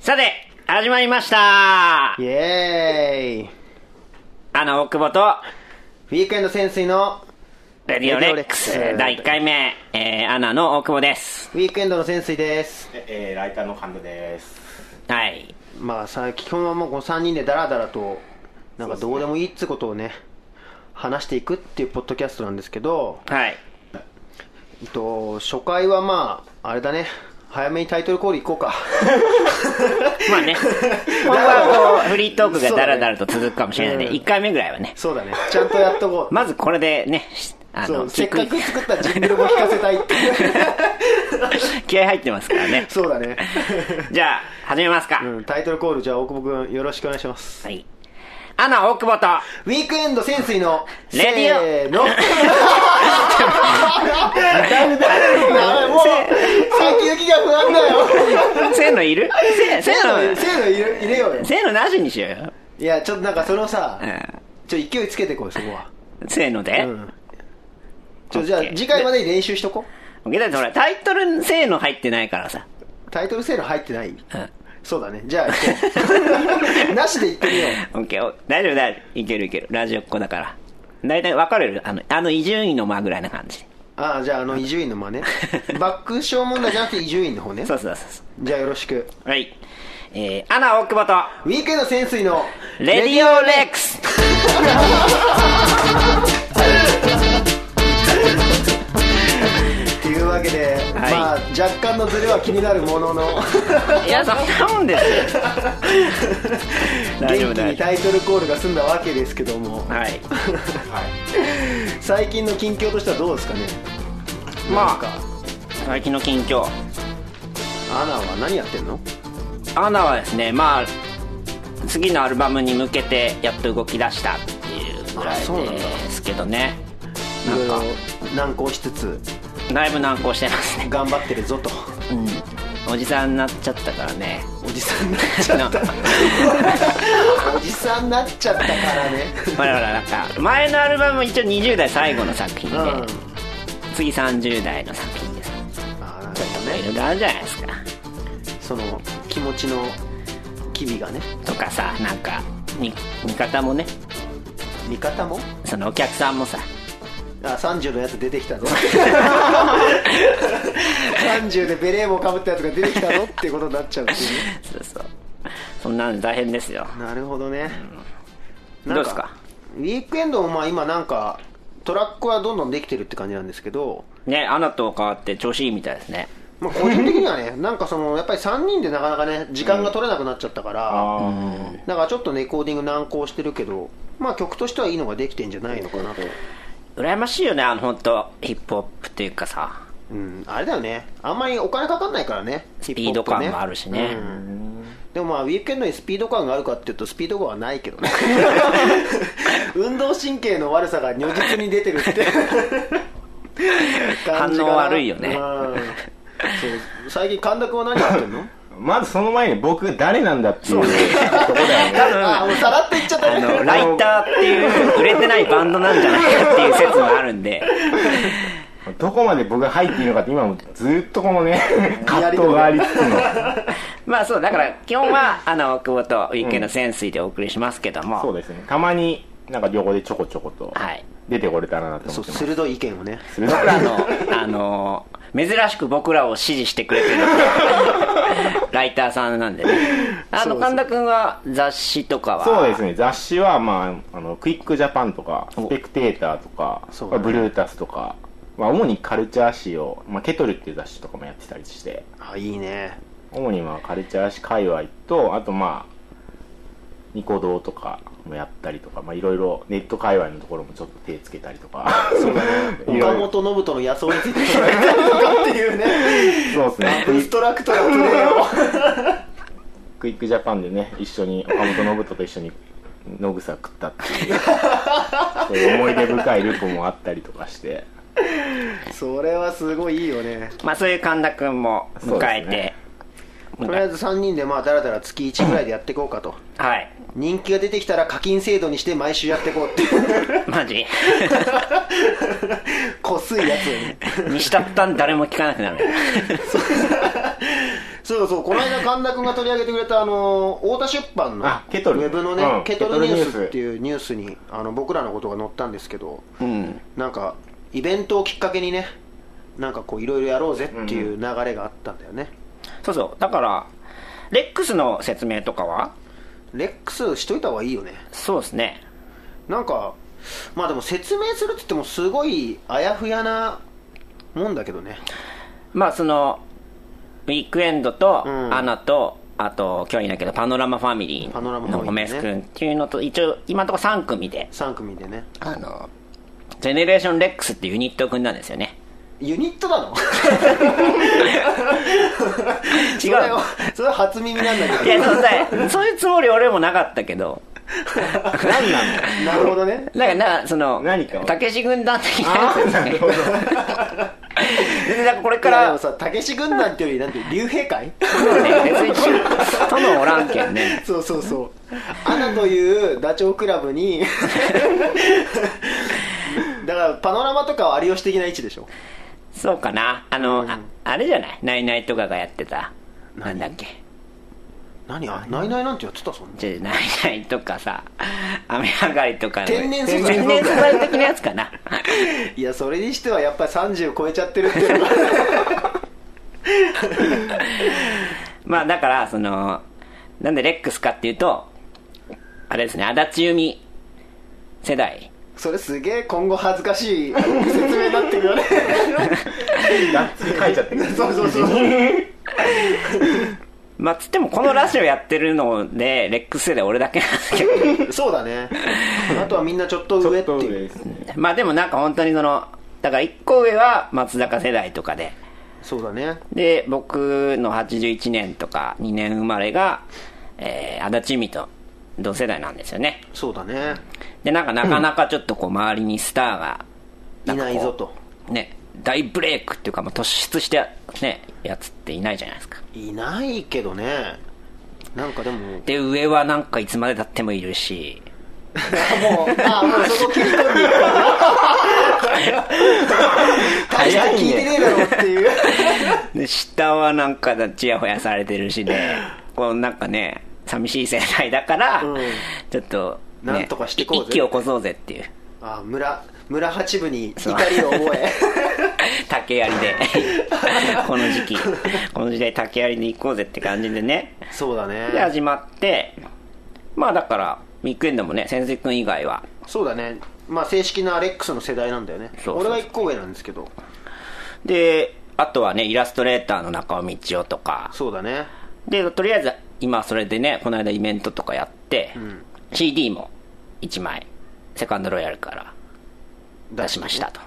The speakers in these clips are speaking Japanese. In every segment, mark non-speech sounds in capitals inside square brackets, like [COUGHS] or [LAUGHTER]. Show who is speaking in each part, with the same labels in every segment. Speaker 1: さて、始まりました
Speaker 2: イエーイ
Speaker 1: あの、大久保と、
Speaker 2: ウィークエンド潜水の
Speaker 1: レディオレックス
Speaker 2: レディオレックス
Speaker 1: 第1回目、えー、アナの大久保です。
Speaker 2: ウィークエンドの潜水です
Speaker 3: ええーライターの神田です
Speaker 1: はい。
Speaker 2: まあさ基本はもうこの3人でダラダラとなんかどうでもいいっつことをね話していくっていうポッドキャストなんですけど、
Speaker 1: はい。
Speaker 2: えっと、初回はまああれだね早めにタイトルコールいこうか [LAUGHS]
Speaker 1: [LAUGHS] まあね、今後はこう、フリートークがダラダラと続くかもしれないんで、
Speaker 2: そうだね
Speaker 1: 1回目ぐらいはね、
Speaker 2: そうだねちゃんとやっとこう、
Speaker 1: まずこれでね、しあ
Speaker 2: そ
Speaker 1: の、
Speaker 2: うせっ
Speaker 1: 聞
Speaker 2: か
Speaker 1: く
Speaker 2: く作ったジングルも聞かせたいって [LAUGHS]
Speaker 1: 気合入ってますから [LAUGHS] ね。
Speaker 2: そうだね、
Speaker 1: じゃあ、始めますか。
Speaker 2: うん、タイトルコールじゃあ大久保君よろしくお願いします
Speaker 1: はい。アナ大久保と、
Speaker 2: ウィークエンド潜水の
Speaker 1: レディオ
Speaker 2: せーのダメだもう先行きが不安だよ
Speaker 1: せーのいる [LAUGHS] せせーの、
Speaker 2: せーのいる入れようよ
Speaker 1: せーのなしにしようよ。
Speaker 2: いやちょっとなんかそのさ
Speaker 1: う
Speaker 2: ちょっと勢いつけてこいそこは
Speaker 1: ん。せーので。
Speaker 2: うんちょじゃあ
Speaker 1: オッケー
Speaker 2: 次回までに練習しとこ
Speaker 1: だってほら、タイトルせーの入ってないからさ。
Speaker 2: うタイトルセール入ってない
Speaker 1: うん。
Speaker 2: そうだねじゃあ行こ
Speaker 1: [LAUGHS]
Speaker 2: うなしで行ってみよ
Speaker 1: オッケー、お大丈夫だ。いけるいける。ラジオっ子だから。大体分かれる。あの、あの伊集院の間ぐらいな感じ。
Speaker 2: うああじゃああの伊集院の真似爆笑問題じゃなくて伊集院の方ね
Speaker 1: そうそうそうそ
Speaker 2: じゃあよろしく
Speaker 1: う。はい。えー、アナ大久保と、
Speaker 2: ウィークエンド潜水の
Speaker 1: レディオレックス
Speaker 2: というわけで、
Speaker 1: はい
Speaker 2: まあ若干のズレは気になるものの
Speaker 1: いや、そんなもん
Speaker 2: [LAUGHS]
Speaker 1: ですよ。 [LAUGHS] 大丈夫
Speaker 2: 元気
Speaker 1: 大
Speaker 2: に
Speaker 1: 丈
Speaker 2: タイトルコールが済んだわけですけども、
Speaker 1: 夫。はい。
Speaker 2: 最近の近況としてはどうですかね
Speaker 1: まあ、最近の近況。
Speaker 2: アナは何やってんの
Speaker 1: アナはですね、まあ、次のアルバムに向けて、やっと動き出したっていうぐら
Speaker 2: あそうなん
Speaker 1: い
Speaker 2: だ
Speaker 1: ですけどね。
Speaker 2: い
Speaker 1: な
Speaker 2: ろ
Speaker 1: ん
Speaker 2: いろ
Speaker 1: か、
Speaker 2: 難航しつつ
Speaker 1: だいぶ難航してますね。
Speaker 2: 頑張ってるぞと
Speaker 1: うん。おじさんになっちゃったからね。
Speaker 2: おじさんになっちゃったおじさんになっちゃったから
Speaker 1: [LAUGHS]
Speaker 2: ね
Speaker 1: ほらほらなんか前のアルバムも一応20代最後の作品で、
Speaker 2: うん
Speaker 1: 次30代の作品です
Speaker 2: あーなんか
Speaker 1: いろ
Speaker 2: ね
Speaker 1: いろあるじゃないですか
Speaker 2: その気持ちの機微がね
Speaker 1: とかさなんか見見方もね
Speaker 2: 味方も
Speaker 1: そのお客さんもさ
Speaker 2: あ30のやつ出てき [LAUGHS] たぞ30でベレー帽かぶったやつが出てきたぞってことになっちゃうっていうね
Speaker 1: そうそうそんなの大変ですよ
Speaker 2: [LAUGHS] なるほどね、
Speaker 1: どうですか
Speaker 2: ウィークエンドもまあ今なんかトラックはどんどんできてるって感じなんですけど、
Speaker 1: ねアナと変わって調子いいみたいですね
Speaker 2: まあ、個人的に [LAUGHS] はねなんかそのやっぱり3人でなかなかね時間が取れなくなっちゃったから、
Speaker 3: あ
Speaker 2: なんかちょっとレコーディング難航してるけどまあ曲としてはいいのができてんじゃないのかなと、
Speaker 1: 羨ましいよねあの本当ヒップホップっていうかさ
Speaker 2: うん、あれだよねあんまりお金かかんないからね
Speaker 1: スピード感もあるしね
Speaker 2: ヒップホップねうんでもまあウィークエンドにスピード感があるかっていうとスピード感はないけど
Speaker 1: [LAUGHS]
Speaker 2: ね運動神経の悪さが如実に出てるって
Speaker 1: [LAUGHS]
Speaker 2: 感じかな
Speaker 1: 反応悪いよね
Speaker 2: うんそう最近神田君は何やってんの
Speaker 3: ーまずその前に僕誰なんだっていうとこだよね [LAUGHS]
Speaker 2: あもうさらっと言っちゃった
Speaker 1: あ
Speaker 2: ね
Speaker 1: のライターっていう売れてないバンドなんじゃないかっていう説もあるんで
Speaker 3: どこまで僕が入っていいのかって今もずっとこのね葛藤がありつつの
Speaker 1: まあそうだから基本は [LAUGHS] あの久保とウィークエンド潜水でお送りしますけども、
Speaker 3: そうですねたまになんか横でちょこちょこと
Speaker 1: はい
Speaker 3: 出てこれたらなと思
Speaker 2: そ
Speaker 3: っ
Speaker 2: う
Speaker 3: てます
Speaker 2: 鋭い意見をね
Speaker 3: する
Speaker 1: [LAUGHS] 僕らのあの珍しく僕らを支持してくれてる [LAUGHS] ライターさんなんでねあの神田君は雑誌とかは
Speaker 3: そうですね雑誌は、まあ、あのクイックジャパンとか
Speaker 1: お
Speaker 3: スペクテーターとか、
Speaker 2: そうだ
Speaker 3: まあ
Speaker 2: ね
Speaker 3: ブルータスとか、まあ、主にカルチャー誌を、まあ、ケトルっていう雑誌とかもやってたりして
Speaker 2: あいいね
Speaker 3: 主にまあカルチャー誌界隈とあとまあニコ動とかもやったりとかまあいろいろネット界隈のところもちょっと手つけたりとかそうい
Speaker 2: 岡
Speaker 3: ろいろ
Speaker 2: 本信人の野草について考えたりとかってい
Speaker 1: [LAUGHS]
Speaker 2: うね
Speaker 3: そうですねクイ
Speaker 2: インストラクターのプレーを
Speaker 3: クイックジャパンでね一緒に岡本信人と一緒に野草食ったっていうそういう思い出深いルポもあったりとかして
Speaker 2: それはすごいいいよね
Speaker 1: まあそういう神田君も迎え
Speaker 3: そうです
Speaker 1: て
Speaker 3: ね、
Speaker 2: とりあえず3人でまあだらだら月1ぐらいでやっていこうかと
Speaker 1: はい
Speaker 2: 人気が出てきたら課金制度にして毎週やっていこうっていう [LAUGHS]
Speaker 1: マジ [LAUGHS]
Speaker 2: こすいやつをね
Speaker 1: にしたったん誰も聞かなくなる
Speaker 2: そうそうそう、この間神田君が取り上げてくれた、あの、太田出版の、
Speaker 3: あケトル
Speaker 2: ウェブのね、
Speaker 3: うん
Speaker 2: ケトルニュース
Speaker 3: ケトルニュース
Speaker 2: っていうニュースに、あの、僕らのことが載ったんですけど、
Speaker 1: うん
Speaker 2: なんか、イベントをきっかけにね、なんかこう、いろいろやろうぜっていう流れがあったんだよね。
Speaker 1: そうそうだからレックスの説明とかは
Speaker 2: レックスしといた方がいいよね。
Speaker 1: そうですね
Speaker 2: なんか、まあでも説明するって言っても、すごいあやふやなもんだけどね。
Speaker 1: まあそのウィークエンドと
Speaker 2: うん
Speaker 1: アナと、あと今日いないけどパノラマファミリ
Speaker 2: パノラマ
Speaker 1: ー
Speaker 2: ファミ
Speaker 1: の
Speaker 2: リーね
Speaker 1: ゴメス君っていうのと一応今のところ3組で
Speaker 2: 3組でね。
Speaker 1: あのジェネレーションレックスっていうユニットを組んだんですよね
Speaker 2: ユニットなの
Speaker 1: 違う
Speaker 2: それは [LAUGHS] それは初耳なんだ
Speaker 1: い
Speaker 2: け
Speaker 1: や
Speaker 2: ど
Speaker 1: そうだそういうつもり俺もなかったけど
Speaker 3: 何なんだよ
Speaker 2: なるほどね
Speaker 1: なんかなその
Speaker 3: 何かを
Speaker 1: たけし軍団的なや
Speaker 3: あ
Speaker 1: つ
Speaker 3: ー
Speaker 1: です
Speaker 3: な
Speaker 1: ね
Speaker 3: るほど
Speaker 1: 全然なんかこれか
Speaker 2: いやで
Speaker 1: ら
Speaker 2: もさたけし軍団っていうよりなんて竜兵会 [LAUGHS]
Speaker 1: そうね別にそのおらんけんね
Speaker 2: そうそうそうアナというダチョウ倶楽部に [LAUGHS] だからパノラマとかは有吉的な位置でしょ
Speaker 1: そうかなあの、ああれじゃないナイナイとかがやってたな
Speaker 2: 何
Speaker 1: んだっけ
Speaker 2: 何あナイナイなんてやってたそんな
Speaker 1: じゃナイナイとかさ雨上がりとかの
Speaker 2: 天然素材
Speaker 1: 天然素材的なやつかない [LAUGHS]
Speaker 2: やそれにしてはやっぱり30超えちゃってるっていうのが [LAUGHS]
Speaker 1: まあだからそのなんでレックスかっていうとあれですね足立由美世代
Speaker 2: それすげえ今後恥ずかしい [LAUGHS] 説明になってるよね [LAUGHS]
Speaker 3: がっつり書いちゃってる
Speaker 2: そうそうそう [LAUGHS]
Speaker 1: まあつってもこのラジオやってるのでレックス世代俺だけなんですけど [LAUGHS]
Speaker 2: そうだねあとはみんなちょっと上って
Speaker 3: 上
Speaker 2: いう
Speaker 3: ですね
Speaker 1: まあでもなんか本当にそのだから1個上は松坂世代とかで
Speaker 2: そうだね
Speaker 1: で僕の81年とか2年生まれが、えー、足立由美と同世代なんですよね
Speaker 2: そうだね
Speaker 1: でなんかなかなかちょっとこう周りにスターが
Speaker 2: い
Speaker 1: んかこう
Speaker 2: ないぞと
Speaker 1: ね大ブレイクっていうかもう突出してねやつっていないじゃないですか
Speaker 2: いないけどねなんかでももう
Speaker 1: で上はなんかいつまでたってもいるし
Speaker 2: あもうそこ切り取る大した聞いてねえだろっていう
Speaker 1: で下はなんかちやほやされてるし
Speaker 2: [LAUGHS]
Speaker 1: でこうなんかね寂しい世代だから、
Speaker 2: うん
Speaker 1: ちょっと、ね、
Speaker 2: なんとかしてこうぜ
Speaker 1: 一気を起こそうぜっていう
Speaker 2: あ村村八部に怒りを覚え
Speaker 1: 竹槍でこの時期この時代竹槍で行こうぜって感じでね
Speaker 2: [LAUGHS] そうだ
Speaker 1: で
Speaker 2: ね
Speaker 1: 始まってまあだからウィークエンドもね先生君以外は
Speaker 2: そうだねまあ正式なアレックスの世代なんだよね
Speaker 1: そうそう
Speaker 2: 俺が一個上なんですけど
Speaker 1: であとはねイラストレーターの中尾道夫とか
Speaker 2: そうだね
Speaker 1: でとりあえず今それでねこの間イベントとかやって、CD も1枚セカンドロイヤルから出しましたと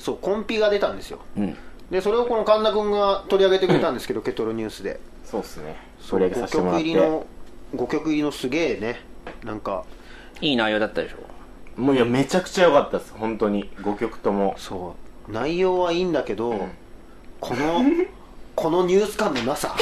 Speaker 2: そうコンピが出たんですよ
Speaker 1: うん
Speaker 2: でそれをこの神田君が取り上げてくれたんですけどケトルニュースで
Speaker 3: そうっすね
Speaker 2: そ
Speaker 3: 取
Speaker 2: う
Speaker 3: り上げさ
Speaker 2: 5
Speaker 3: せても
Speaker 2: 曲
Speaker 3: らっ
Speaker 2: 入り
Speaker 3: て
Speaker 2: の5曲入りのすげえねなんか
Speaker 1: いい内容だったでしょ
Speaker 3: もういやめちゃくちゃ良かったです本当に5曲とも
Speaker 2: そう内容はいいんだけど、この [LAUGHS] このニュース感のな
Speaker 3: [LAUGHS]
Speaker 2: さ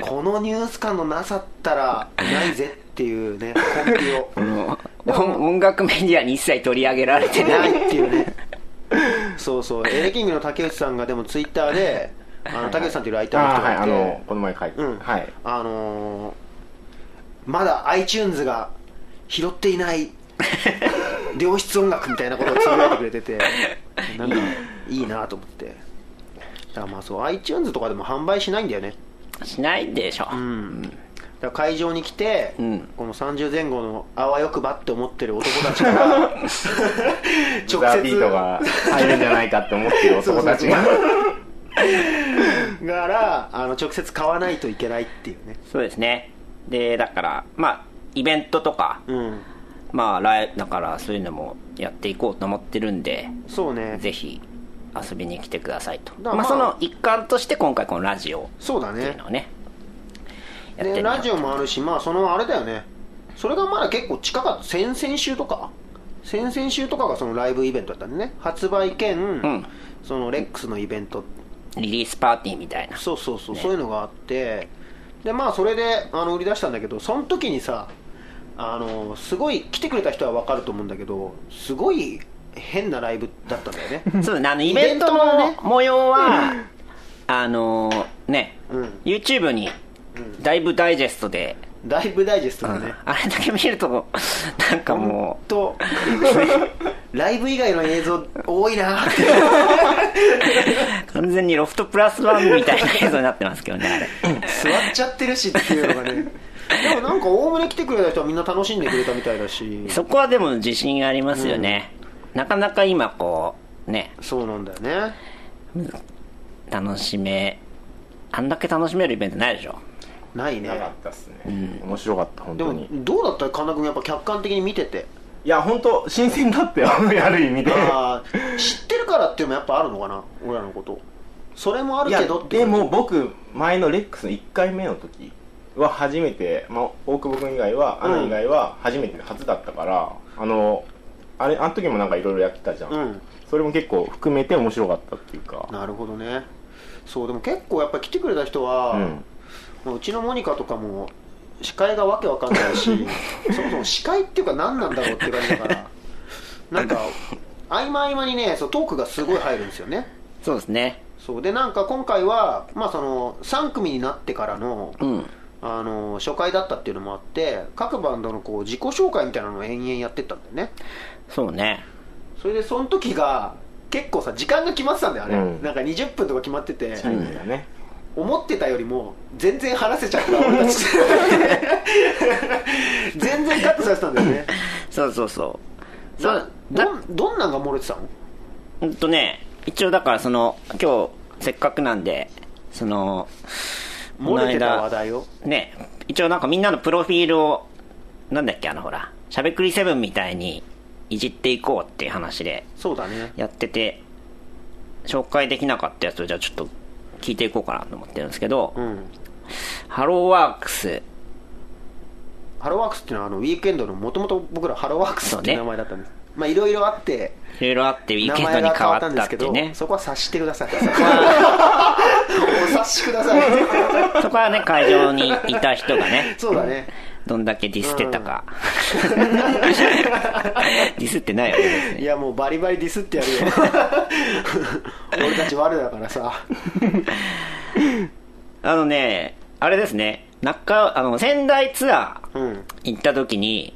Speaker 2: このニュース感のなさったらないぜっていうねコンピを
Speaker 1: この音 [LAUGHS] 音楽メディアに一切取り上げられてな
Speaker 2: ないいっていうねそうそうエレキングの竹内さんがでもツイッターであの竹内さんというライターの
Speaker 3: あ
Speaker 2: 人
Speaker 3: あ
Speaker 2: がい
Speaker 3: はい
Speaker 2: て
Speaker 3: あのこの前書いて
Speaker 2: うん
Speaker 3: はい
Speaker 2: あのーまだ iTunes が拾っていない良質音楽みたいなことをつぶやいてくれててなんかいいなと思ってだからまあそう iTunes とかでも販売しないんだよね
Speaker 1: しないでしょ、
Speaker 2: うんだから会場に来て、
Speaker 1: ん
Speaker 2: この30前後のあわよくばって思ってる男たちから直接
Speaker 3: ザ・ビートが入るんじゃないかって思ってる男たちが
Speaker 2: そうからあの直接買わないといけないっていうね
Speaker 1: そうですねでだからまあイベントとか
Speaker 2: うん
Speaker 1: まあライだからそういうのもやっていこうと思ってるんで
Speaker 2: そうね
Speaker 1: ぜひ遊びに来てくださいと
Speaker 2: だか
Speaker 1: ま
Speaker 2: らま
Speaker 1: あ
Speaker 2: あ
Speaker 1: その一環として今回このラジオっ
Speaker 2: そうだ
Speaker 1: ていう
Speaker 2: ね
Speaker 1: のをねやって
Speaker 2: で
Speaker 1: みよう
Speaker 2: ラジオもあるしまあそのあれだよねそれがまだ結構近かった先々週とか先々週とかがそのライブイベントだったんでね発売兼、
Speaker 1: ん
Speaker 2: そのレックスのイベント
Speaker 1: リリースパーティーみたいな
Speaker 2: そうそうそう、そういうのがあってでまあそれであの売り出したんだけどその時にさあのすごい来てくれた人は分かると思うんだけどすごい変なライブだったんだよ
Speaker 1: [LAUGHS]
Speaker 2: ね
Speaker 1: そうだねあのイベント
Speaker 2: イベントも
Speaker 1: の
Speaker 2: ね
Speaker 1: 模様は、あのーね、
Speaker 2: うん
Speaker 1: YouTube にだいぶダイジェストで、
Speaker 2: ライブダイジェストでね、
Speaker 1: あれだけ見ると
Speaker 2: [LAUGHS]
Speaker 1: なんかも
Speaker 2: と [LAUGHS] ライブ以外の映像多いなって
Speaker 1: う完全にロフトプラスワンみたいな映像になってますけどねあれ
Speaker 2: 座っちゃってるしっていうのが
Speaker 3: [LAUGHS]
Speaker 2: ねでもなんかおおむね来てくれた人はみんな楽しんでくれたみたいだし
Speaker 1: そこはでも自信がありますよね、なかなか今こうね
Speaker 2: そうなんだよね
Speaker 1: 楽しめあんだけ楽しめるイベントないでしょ
Speaker 2: ないね
Speaker 3: なかったっすね、面白かった本
Speaker 2: で
Speaker 3: 当
Speaker 2: も
Speaker 3: に
Speaker 2: どうだった神田君やっぱ客観的に見て
Speaker 3: [LAUGHS]
Speaker 2: て
Speaker 3: いや本当新鮮だったよ [LAUGHS] ある意味で
Speaker 2: あー知ってるからっていうのもやっぱあるのかな俺らのことそれもあ
Speaker 3: い
Speaker 2: る
Speaker 3: や
Speaker 2: けどって
Speaker 3: でも僕前のレックスの1回目の時は初めて、まあ、大久保君以外はアナ以外は初めて初だったから、あのあれあの時もなんかいろいろやってたじゃん、
Speaker 2: うん
Speaker 3: それも結構含めて面白かったっていうか
Speaker 2: なるほどねそうでも結構やっぱ来てくれた人は、
Speaker 3: うん
Speaker 2: もううちのモニカとかも司会がわけわかんない
Speaker 3: [LAUGHS]
Speaker 2: しそもそも司会っていうか何なんだろうっていう感じだからなんか合間合間にねそうトークがすごい入るんですよね
Speaker 1: そうですね
Speaker 2: そうでなんか今回は、まあ、その3組になってからの
Speaker 1: うん
Speaker 2: あの初回だったっていうのもあって各バンドのこう自己紹介みたいなのを延々やってったんだよね
Speaker 1: そうね
Speaker 2: それでその時が結構さ時間が決まってたんだよあれ、
Speaker 3: うん
Speaker 2: なんか20分とか決まってて、
Speaker 3: チャイムだね、
Speaker 2: 思ってたよりも全然話せちゃ
Speaker 1: [LAUGHS]
Speaker 2: った俺たち全然カットされてたんだよね
Speaker 1: そうそう [LAUGHS] そうそ
Speaker 2: な
Speaker 1: うだ
Speaker 2: どんどんなんが漏れてたの
Speaker 1: うんとね一応だからその今日せっかくなんでその
Speaker 2: 漏れてた
Speaker 1: この間
Speaker 2: 話題を
Speaker 1: ね一応なんかみんなのプロフィールをなんだっけあのほらしゃべくり7みたいにいじっていこうっていう話で
Speaker 2: そうだね
Speaker 1: やってて紹介できなかったやつをじゃあちょっと聞いていこうかなと思ってるんですけど、
Speaker 2: うん
Speaker 1: ハローワークス
Speaker 2: ハローワークスっていうのはあのウィークエンドのもともと僕らハローワークスっていう名前だったんです、まあいろいろあって
Speaker 1: いろいろあってウィー
Speaker 2: 名
Speaker 1: ケンド
Speaker 2: 前
Speaker 1: に
Speaker 2: が
Speaker 1: 変
Speaker 2: 変
Speaker 1: わ
Speaker 2: わ
Speaker 1: っ
Speaker 2: った
Speaker 1: た
Speaker 2: んで
Speaker 1: っ
Speaker 2: す
Speaker 1: て
Speaker 2: け
Speaker 1: いう
Speaker 2: ど
Speaker 1: ね
Speaker 2: そこは察してくださ
Speaker 1: [LAUGHS]
Speaker 2: い [LAUGHS] お察しください
Speaker 1: そこはね会場にいた人がね
Speaker 2: そうだね
Speaker 1: どんだけディスってたか、 [LAUGHS] ディスってないよね
Speaker 2: いやもうバリバリディスってや
Speaker 1: [LAUGHS]
Speaker 2: るよ俺たち悪だからさ
Speaker 1: あのね、あれですね、中、あの、仙台ツアー
Speaker 2: うん
Speaker 1: 行った時に、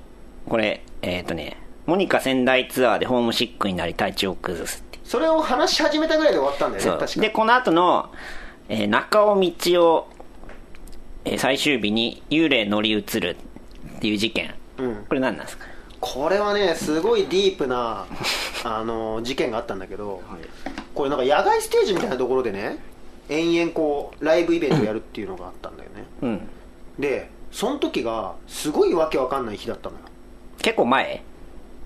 Speaker 1: これ、えっ、とね、モニカ仙台ツアーでホームシックになり体調を崩すっていう
Speaker 2: それを話し始めたぐらいで終わったんだよね
Speaker 1: そう
Speaker 2: 確か
Speaker 1: で、この後の、えー中尾道を、えー最終日に幽霊乗り移るっていう事件。
Speaker 2: うん
Speaker 1: これ何なんですかね
Speaker 2: これはねすごいディープなあの事件があったんだけど、これなんか野外ステージみたいなところでね延々こうライブイベントをやるっていうのがあったんだよね
Speaker 1: うん。
Speaker 2: でその時がすごいわけわかんない日だったのよ
Speaker 1: 結構前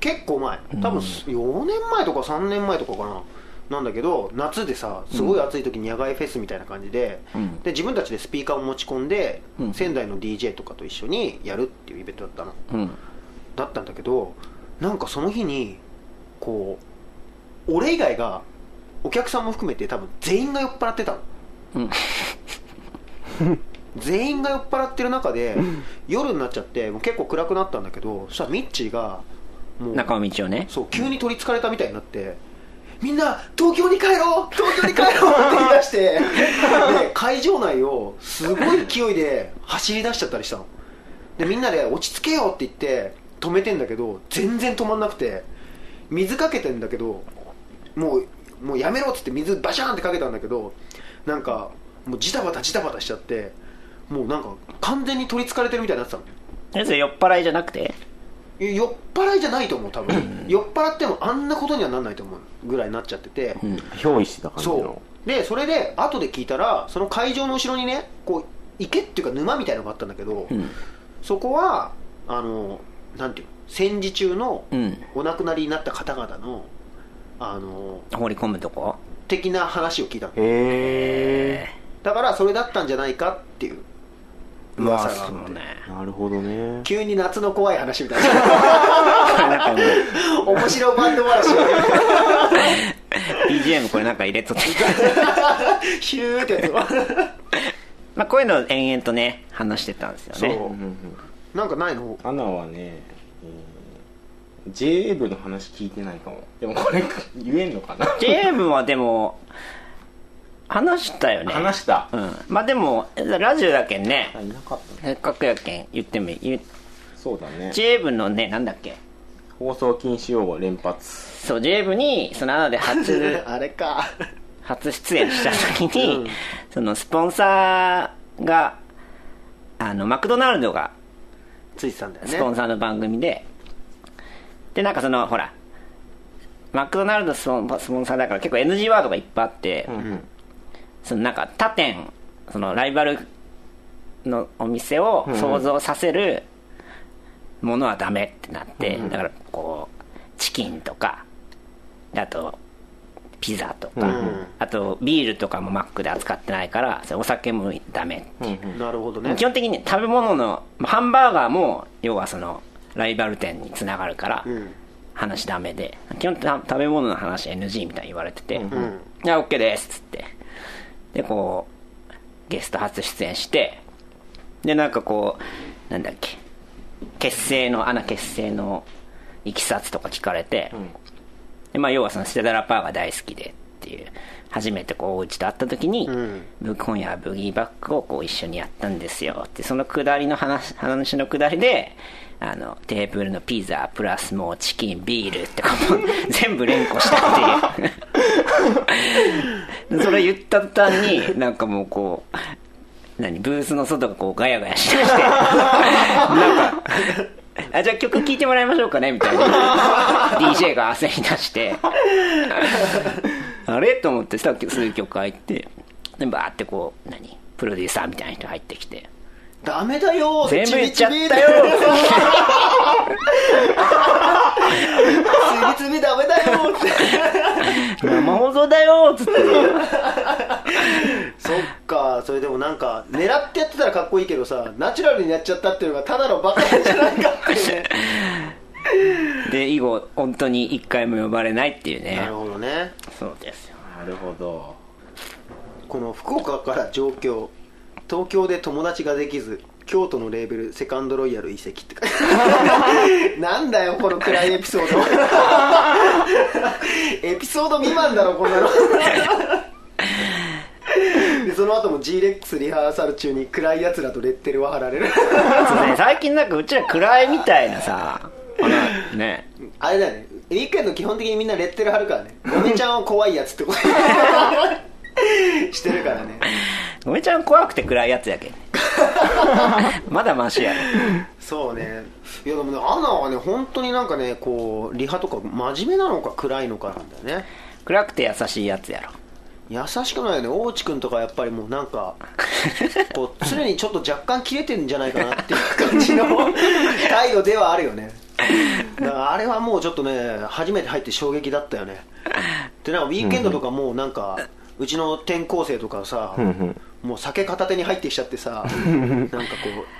Speaker 2: 結構前多分4年前とか3年前とかかななんだけど夏でさすごい暑い時に野外フェスみたいな感じで,、
Speaker 1: ん
Speaker 2: で自分たちでスピーカーを持ち込んで、
Speaker 1: うん
Speaker 2: 仙台の DJ とかと一緒にやるっていうイベントだったの
Speaker 1: うん。
Speaker 2: だったんだけどなんかその日にこう俺以外がお客さんも含めて多分全員が酔っ払ってたの、
Speaker 1: うん
Speaker 2: [LAUGHS] 全員が酔っ払ってる中で夜になっちゃってもう結構暗くなったんだけどそしたらミッチーがもう
Speaker 1: 中尾道をね。
Speaker 2: そう急に取りつかれたみたいになってみんな東京に帰ろう東京に帰ろうって言い出してで会場内をすごい勢いで走り出しちゃったりしたのでみんなで落ち着けよって言って止めてんだけど全然止まんなくて水かけてんだけどもうもうやめろっつって水バシャーンってかけたんだけどなんかもうジタバタジタバタしちゃってもうなんか完全に取りつかれてるみたいになってたの
Speaker 1: やつ酔っ払いじゃなくて
Speaker 2: え酔っ払いじゃないと思う多分酔っ払ってもあんなことにはなんないと思うぐらいになっちゃってて、
Speaker 1: うん。
Speaker 3: 憑依してた感じ
Speaker 2: そ
Speaker 3: の
Speaker 2: うでそれで後で聞いたらその会場の後ろにねこう池っていうか沼みたいのがあったんだけど、
Speaker 1: うん。
Speaker 2: そこはあのなんていうの戦時中の
Speaker 1: うん。
Speaker 2: お亡くなりになった方々のあの
Speaker 1: 放り込むとこ
Speaker 2: 的な話を聞いたの
Speaker 3: へえ
Speaker 2: だからそれだったんじゃないかっていう噂があって、
Speaker 1: ね。
Speaker 3: なるほどね
Speaker 2: 急に夏の怖い話みたいな [LAUGHS]
Speaker 1: なんかもう
Speaker 2: 面白バンド話を [LAUGHS]
Speaker 1: BGM これなんか入れとって。
Speaker 2: ヒューってやつを
Speaker 1: まあこういうのを延々とね、話してたんですよね。
Speaker 2: そう
Speaker 3: うんうんうん
Speaker 2: なんかないの
Speaker 3: アナはね、えー j 部の話聞いてないかもでもこれ言えんのかな
Speaker 1: j 部はでも話したよね
Speaker 3: 話した、
Speaker 1: うんまあでもラジオだけんね
Speaker 3: あいなかった
Speaker 1: せ
Speaker 3: ね
Speaker 1: っかくやけん言ってもいい
Speaker 3: そうだね
Speaker 1: j 部のねなんだっけ
Speaker 3: 放送禁止用語連発
Speaker 1: そう j 部にそのアナで
Speaker 2: [LAUGHS]
Speaker 1: 初
Speaker 2: あれか
Speaker 1: 初出演した時に、
Speaker 2: うん
Speaker 1: そのスポンサーがあのマクドナルドが
Speaker 2: ついてたんだよね
Speaker 1: スポンサーの番組で、でなんかそのほらマクドナルドスポンスポンサーだから結構 NG ワードがいっぱいあって、
Speaker 3: ん
Speaker 1: そのなんか他店そのライバルのお店を想像させるものはダメってなって、だからこうチキンとかあとピザとか、
Speaker 2: うん
Speaker 1: あとビールとかもマックで扱ってないからそれお酒もダメって
Speaker 3: うん
Speaker 2: なるほどね
Speaker 1: 基本的に食べ物のまあハンバーガーも要はそのライバル店につながるから
Speaker 2: うん
Speaker 1: 話ダメで基本た食べ物の話 NG みたいに言われてて「
Speaker 2: うんうん
Speaker 1: じゃあ OK です」っつってでこうゲスト初出演してでなんかこうなんだっけ結成の穴結成のいきさつとか聞かれて、
Speaker 3: ん
Speaker 1: でまあ、要はそのステダラパーが大好きでっていう初めてこうお家と会った時に、
Speaker 2: うん
Speaker 1: 僕今夜はブギーバックをこう一緒にやったんですよってそのくだりの話話のくだりであのテーブルのピザプラスもうチキンビール
Speaker 2: [LAUGHS]
Speaker 1: ってことも全部連呼したっていうそれ言った途端になんかもうこう何ブースの外がこうガヤガヤしだしてなんかあじゃあ曲聴いてもらいましょうかねみたい [LAUGHS] な DJ が焦り出してあれと思ってさっき数曲入ってでバーってこう何プロデューサーみたいな人入ってきて
Speaker 2: ダメだよ
Speaker 1: 全部言っちゃった
Speaker 2: ちびちび
Speaker 1: よ
Speaker 2: つびつびダメだよって
Speaker 1: 生放送だよつって
Speaker 2: [LAUGHS] そっかそれでもなんか狙ってやってたらかっこいいけどさナチュラルにやっちゃったっていうのがただのバカじゃないかっていうね
Speaker 1: で以後本当に一回も呼ばれないっていう
Speaker 2: [LAUGHS] な
Speaker 1: ね
Speaker 2: るほどね
Speaker 1: そうですよ
Speaker 3: なるほど
Speaker 2: この福岡から上京東京で友達ができず京都のレーベルセカンドロイヤル移籍って書いてあるなんだよこの暗いエピソードエピソード未満だろこんなのでその後も g レックスリハーサル中に暗いやつらとレッテルは貼られる
Speaker 1: そうね最近なんかうちら暗いみたいなさあのね
Speaker 2: あれだよねウィークエンド基本的にみんなレッテル貼るからねゴミちゃんを怖いやつってことしてるからね
Speaker 1: ごめちゃん怖くて暗いやつやけん [LAUGHS] まだマシや
Speaker 2: そうねいやでもねアナはね本当になんかねこうリハとか真面目なのか暗いのかなんだよね
Speaker 1: 暗くて優しいやつやろ
Speaker 2: 優しくないよね大地君とかやっぱりもうなんかこう常にちょっと若干切れてるんじゃないかなっていう感じの態度ではあるよねだからあれはもうちょっとね初めて入って衝撃だったよねでなんかウィークエンドとかもうなんか、うちの転校生とかさ、
Speaker 3: ん
Speaker 2: もう酒片手に入ってきちゃってさなんかこ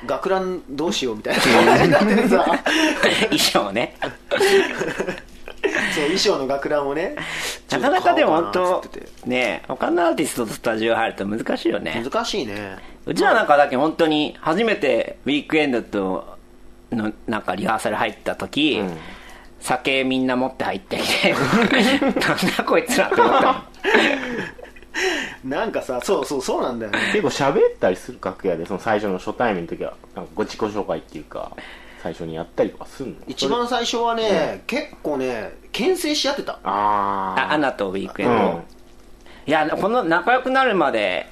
Speaker 2: う学ランどうしようみたいな感じになっててさ
Speaker 1: 衣装ね
Speaker 2: [LAUGHS] そう衣装の学ランをね
Speaker 1: [LAUGHS] なかなかでも本
Speaker 2: ちょっ
Speaker 1: 当
Speaker 2: と買おうかなっつって
Speaker 1: ね他のアーティストとスタジオ入ると難しいよね
Speaker 2: て難しいね
Speaker 1: うちらなんかだけ本当に初めてウィークエンドとのなんかリハーサル入った時、
Speaker 3: ん
Speaker 1: 酒みんな持って入ってき
Speaker 2: [LAUGHS]
Speaker 1: てなんだこいつらって思ったもん
Speaker 2: なんかさそうそうそうなんだ
Speaker 1: [LAUGHS]
Speaker 2: よね
Speaker 3: 結構喋ったりする楽屋でその最初の初対面の時はなんかご自己紹介っていうか最初にやったりとかすんの
Speaker 2: 一番最初はね、結構ね牽制し合ってた
Speaker 3: あ
Speaker 1: あ
Speaker 3: あ
Speaker 1: アナとウィークエン
Speaker 3: う
Speaker 1: ド、
Speaker 3: ん
Speaker 1: いやこの仲良くなるまで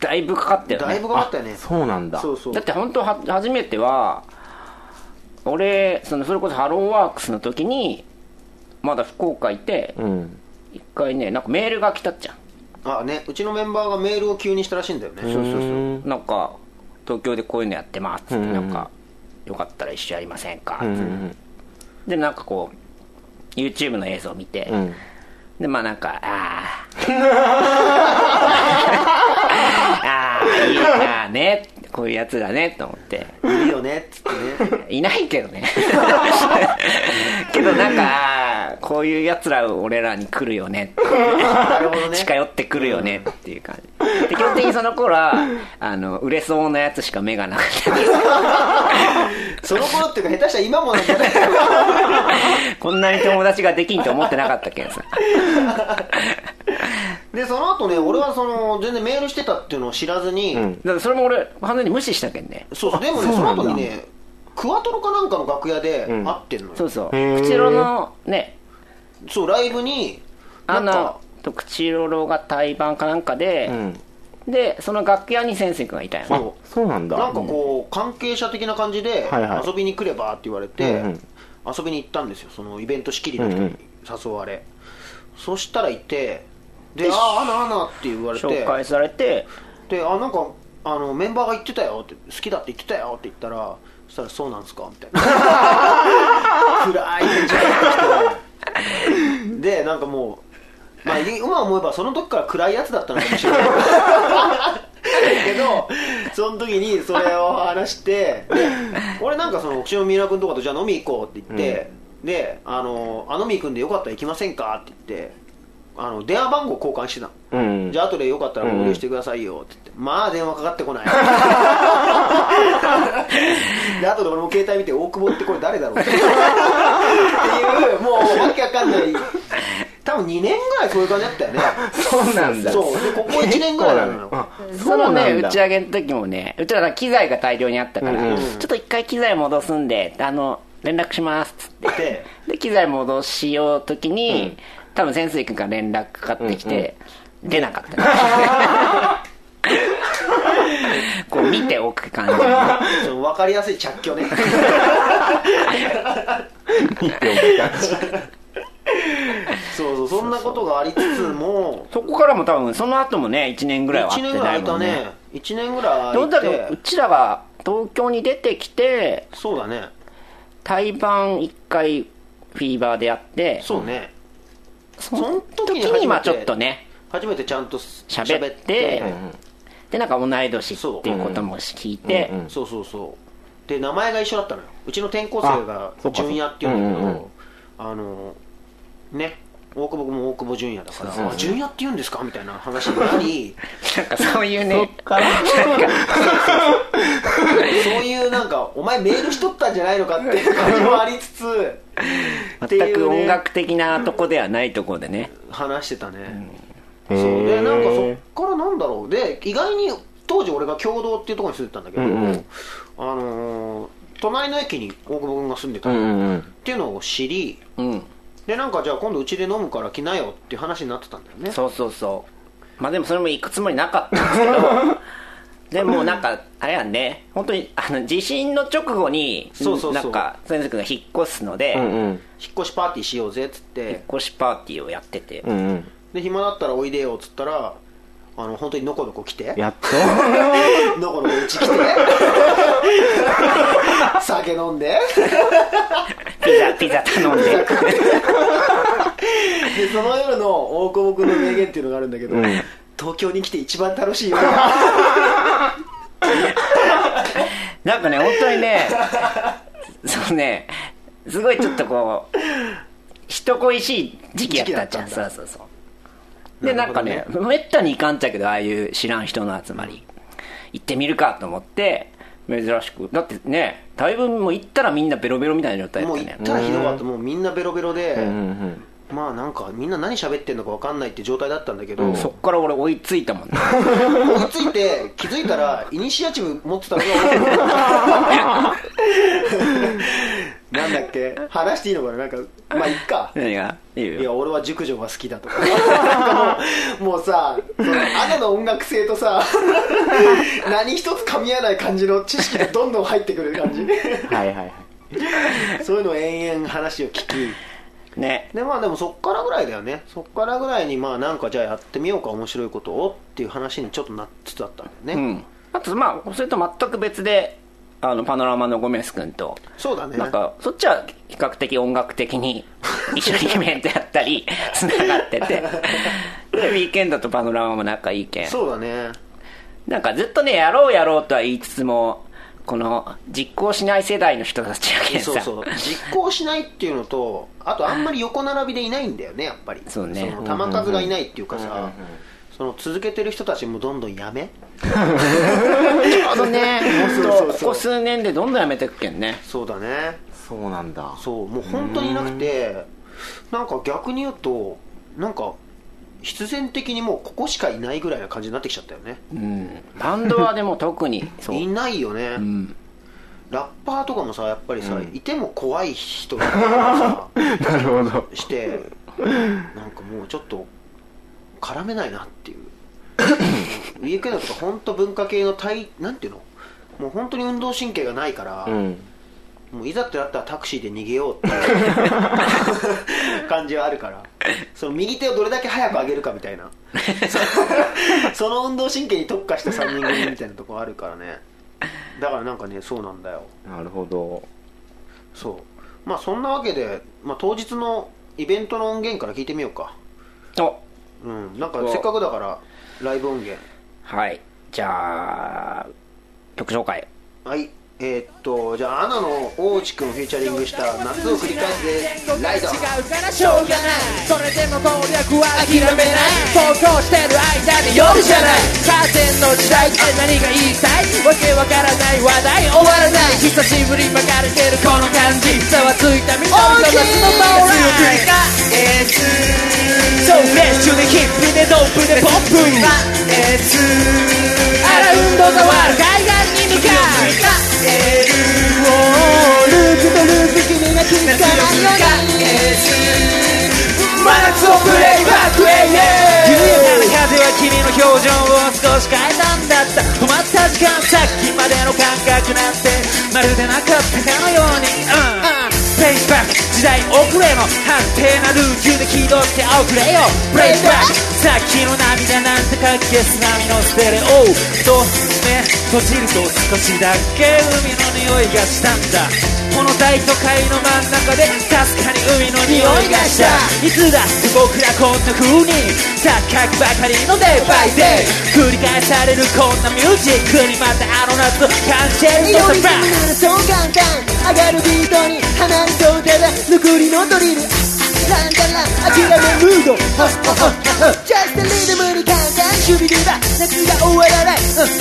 Speaker 1: だいぶかかったよね
Speaker 2: だいぶかかったよね
Speaker 3: そうなんだ
Speaker 2: そうそう
Speaker 1: だって本当は初めては俺そのそれこそハローワークスの時にまだ福岡いて
Speaker 3: うん
Speaker 1: 一回ねなんかメールが来たっちゃん
Speaker 2: あねうちのメンバーがメールを急にしたらしいんだよね
Speaker 3: そうそうそう
Speaker 1: なんか東京でこういうのやってますって、
Speaker 3: うんうん
Speaker 1: なんかよかったら一緒やりませんか、
Speaker 3: うんうん
Speaker 1: でなんかこう YouTube の映像を見て、
Speaker 3: うん
Speaker 1: でまあなんかあ
Speaker 3: [LAUGHS]
Speaker 1: あああいいなあねこういうやつだねと思って
Speaker 2: い
Speaker 1: [LAUGHS]
Speaker 3: [LAUGHS]
Speaker 2: いよねっつってね
Speaker 1: いないけどねけどなんかあこういうやつら俺らに来るよね
Speaker 2: なるほどね
Speaker 1: 近寄ってくるよねっていう感じで基本的にその頃はあの売れそうなやつしか目がなかったです
Speaker 2: その頃っていうか下手したら今もなん
Speaker 1: [LAUGHS]
Speaker 2: じゃないかな
Speaker 1: こんなに友達ができんと思ってなかったけどさ
Speaker 2: でその後ね俺はその全然メールしてたっていうのを知らずに、
Speaker 3: うん
Speaker 1: だからそれも俺完全に無視したけんね
Speaker 2: そうそうでもね
Speaker 3: あ
Speaker 2: そ
Speaker 3: そう
Speaker 2: の
Speaker 3: なんだ
Speaker 2: 後にねクワトロかなんかの楽屋で会
Speaker 3: ん
Speaker 2: ってんのよ、
Speaker 1: そうそう
Speaker 3: へー
Speaker 1: 口ロのね
Speaker 2: そうライブにな
Speaker 1: ア
Speaker 2: んか
Speaker 1: ナと口ロロが対バンかなんかで
Speaker 3: う、ん
Speaker 1: でその楽屋に先生君がいたよね
Speaker 3: あそうなんだ
Speaker 2: なんかこう関係者的な感じで
Speaker 3: はいはい
Speaker 2: 遊びに来ればって言われて、
Speaker 3: うんうん
Speaker 2: 遊びに行ったんですよそのイベント仕切りの人
Speaker 3: うん
Speaker 2: に誘われ、そしたらいてで「ああアナアナ」って言われて
Speaker 1: 紹介されて
Speaker 2: であなんかあのメンバーが言ってたよって好きだって言ってたよって言ったらそしたら「そうなんすか?」みたいな暗い返事が来てでなんかもう、まあ、い今思えばその時から暗いやつだったのかもしれないけどその時にそれを話してで俺なんかその星野ミラ君とかとじゃあ飲み行こうって言って、であの「あのみ君でよかったら行きませんか?」って言ってあの電話番号交換してたの
Speaker 3: うん
Speaker 2: じゃあ後でよかったら合流してくださいよって言って、まあ電話かかっ
Speaker 1: [LAUGHS]
Speaker 2: てこないで後で俺も携帯見て大久保ってこれ誰だろうってっていうもうわけわかんない多分2年ぐらいそういう感じだった
Speaker 1: [LAUGHS]
Speaker 2: よね
Speaker 3: そうなんだ
Speaker 2: そうでここ1年ぐらいなのよ
Speaker 1: そのね打ち上げの時もねうちらは機材が大量にあったから、
Speaker 3: うん
Speaker 1: ちょっと一回機材戻すんであの連絡しますっつって
Speaker 2: で
Speaker 1: で機材戻しようときに、多分潜水君から連絡かかってきて、出なかった、こう見ておく感じ
Speaker 2: その分かりやすい着去ねそうそうそんなことがありつつも
Speaker 1: そこからも多分その後もね1年ぐらいは
Speaker 2: 1
Speaker 1: 会って
Speaker 2: 年ぐら
Speaker 1: ない
Speaker 2: い空い
Speaker 1: も
Speaker 2: た
Speaker 1: んね
Speaker 2: ね1年ぐらい
Speaker 1: ど
Speaker 2: 空
Speaker 1: うだ
Speaker 2: い
Speaker 1: ろうう
Speaker 2: て
Speaker 1: ちらが東京に出てきて
Speaker 2: そうだね
Speaker 1: 対バン1回フィーバーでやって
Speaker 2: そうね
Speaker 1: そ
Speaker 2: そ
Speaker 1: の
Speaker 2: の時に
Speaker 1: 時
Speaker 2: 初めて
Speaker 1: にまあちょっとね
Speaker 2: 初めてちゃんと喋
Speaker 1: 喋ってでなんか同い年っていうことも聞いて
Speaker 3: うんうん
Speaker 2: そうそうそうで名前が一緒だったのようちの転校生が
Speaker 3: あそうかそう
Speaker 2: 純也っていうんだけど、
Speaker 3: うんうんうん
Speaker 2: あのね大久保君も大久保純也だから
Speaker 3: そうそう
Speaker 2: あ純也って言うんですかみたいな話にな
Speaker 3: [LAUGHS]
Speaker 2: り
Speaker 1: なんかそういうね
Speaker 2: そういうなんかお前メールしとったんじゃないのかっていう感じもありつつってい
Speaker 1: 全
Speaker 2: うね
Speaker 1: く音楽的なとこではないとこでね
Speaker 2: 話してたね、
Speaker 3: へー
Speaker 2: そうでなんかそっからなんだろうで意外に当時俺が共同っていうところに住んでたんだけど、
Speaker 3: うんうん
Speaker 2: あのー隣の駅に大久保君が住んでた
Speaker 3: うん
Speaker 2: の、
Speaker 3: う
Speaker 2: っ
Speaker 3: んうん
Speaker 2: ていうのを知り
Speaker 1: うん
Speaker 2: でなんかじゃあ今度うちで飲むから来なよっていう話になってたんだよね
Speaker 1: そうそうそうまあでもそれも行くつもりなかったんですけど
Speaker 2: [LAUGHS]
Speaker 1: でもなんかあれやんね本当にあの地震の直後に
Speaker 2: そうそうそ
Speaker 1: な
Speaker 2: う
Speaker 1: んか先生君が引っ越すので、
Speaker 3: うんうん
Speaker 2: 引っ越しパーティーしようぜっつっ
Speaker 1: 引って越しパーティーをやってて、
Speaker 3: うんうん
Speaker 2: で暇だったらおいでよっつったらあの本当にのこのこ来 [LAUGHS] て
Speaker 3: やっと
Speaker 2: のこのこうち来て酒飲んで
Speaker 1: ピザピザ頼んで
Speaker 2: でその夜の大久保君の名言っていうのがあるんだけど、
Speaker 3: ん
Speaker 2: 東京に来て一番楽しい夜だ
Speaker 1: なんかね本当に
Speaker 2: [LAUGHS]
Speaker 1: ねそうねすごいちょっとこう人恋しい時期やったじゃん
Speaker 2: 時期だ
Speaker 1: そうそうそうでな
Speaker 2: なる
Speaker 1: ん
Speaker 2: ほ
Speaker 1: か
Speaker 2: どね
Speaker 1: ねめったに行かんちゃけどああいう知らん人の集まり行ってみるかと思って珍しくだってねだいぶもう行ったらみんなベロベロみたいな状態だ
Speaker 2: も
Speaker 1: っ
Speaker 2: う
Speaker 1: た
Speaker 2: 行っ
Speaker 1: ね
Speaker 2: たらひどかったもうみんなベロベロで、
Speaker 3: うんうん
Speaker 2: まあなんかみんな何喋ってんのか分かんないって状態だったんだけど、
Speaker 1: うんそっから俺追いついたも
Speaker 2: [LAUGHS]
Speaker 1: んね
Speaker 2: 追いついて気づいたらイニシアチブ持ってたのが俺なんだっけ話していいのかななんかまあいっか
Speaker 1: 何がいい
Speaker 2: いや
Speaker 1: よ
Speaker 2: 俺は熟女が好きだとかなんかもうもうさそのアナの音楽性とさ何一つ噛み合わない感じの知識がどんどん入ってくる感じ
Speaker 3: うんはいはいはい
Speaker 2: そういうのを延々話を聞き
Speaker 1: ね
Speaker 2: でまあでもそっからぐらいだよねそっからぐらいにまあなんかじゃあやってみようか面白いことをっていう話にちょっとなっつつあったんだ
Speaker 1: う
Speaker 2: よね、
Speaker 1: んあとまあそれと全く別であのパノラマのゴメス君と
Speaker 2: そうだね
Speaker 1: なんかそっちは比較的音楽的に一緒にイベントやった
Speaker 2: [LAUGHS]
Speaker 1: りつながっててでウィーケンドとパノラマも仲いいけん
Speaker 2: そうだね
Speaker 1: なんかずっとねやろうやろうとは言いつつもこの実行しない世代の人たちやけんさ
Speaker 2: そうそう実行しないっていうのとあとあんまり横並びでいないんだよねやっぱり
Speaker 1: そうね
Speaker 2: の球数がいないっていうかさ、
Speaker 3: うんうんうん
Speaker 2: その続けてる人たちもどんどんやめ
Speaker 1: ちょうどね
Speaker 2: そうそうそう
Speaker 1: ほんとここ数年でどんどんやめてくけんね
Speaker 2: そうだね
Speaker 3: そうなんだ
Speaker 2: そうもう本当になくてなんか逆に言うとなんか必然的にもうここしかいないぐらいな感じになってきちゃったよね
Speaker 1: うんバンドはでも特にそう
Speaker 2: いないよね、
Speaker 1: ん
Speaker 2: ラッパーとかもさやっぱりさ、いても怖い人だからさ
Speaker 3: [LAUGHS] なるほど
Speaker 2: してなんかもうちょっと絡めないなっていう
Speaker 3: [LAUGHS]
Speaker 2: ウィークエンドとか本当文化系の体なんていうのもう本当に運動神経がないから、
Speaker 3: うん
Speaker 2: もういざってなったらタクシーで逃げようっていう感じはあるからその右手をどれだけ早く上げるかみたいなそ [LAUGHS] その運動神経に特化した3人組みたいなとこあるからねだからなんかねそうなんだよ
Speaker 3: なるほど
Speaker 2: そうまあそんなわけで、まあ、当日のイベントの音源から聞いてみようか
Speaker 1: お
Speaker 2: うんなんかせっかくだからライブ音源
Speaker 1: はいじゃあ曲紹介
Speaker 2: はいえーっとじゃあアナの大内くんフューチャリングした「夏を繰り返す」ですライド
Speaker 4: 違うからしょうがないそれでも攻略は諦めない投稿してる間に夜じゃないカーテンの時代って何が言いたいわけわからない話題終わらない久しぶりまかれてるこの感じざわついたみたいな夏の到来そうフレッシュでヒップでドープでポップにアラウンドがわる海岸に向かうおーループとループ君が気づかないよ真夏をプレイバックへ緩やかな風は君の表情を少し変えたんだった止まった時間さっきまでの感覚なんてまるでなかったかのようにうんプレイバック時代遅れの判定なルールで起動しておくれよプレイバックさっきの涙なんてかけす波のステレオと目閉じると少しだけ海の匂いがしたんだこの大都会の真ん中でかすかに海の匂いがしたいつだって僕らこんな風に錯覚ばかりのデイバイデイ繰り返されるこんなミュージックにまたあの夏を感じるよ
Speaker 5: リズムならそうガンガン上がるビートに花にそうでだぬくりのドリルランダラ諦めムードホッホッホッホッ Just a rhythm に簡単守備リバ夏が終わらないうん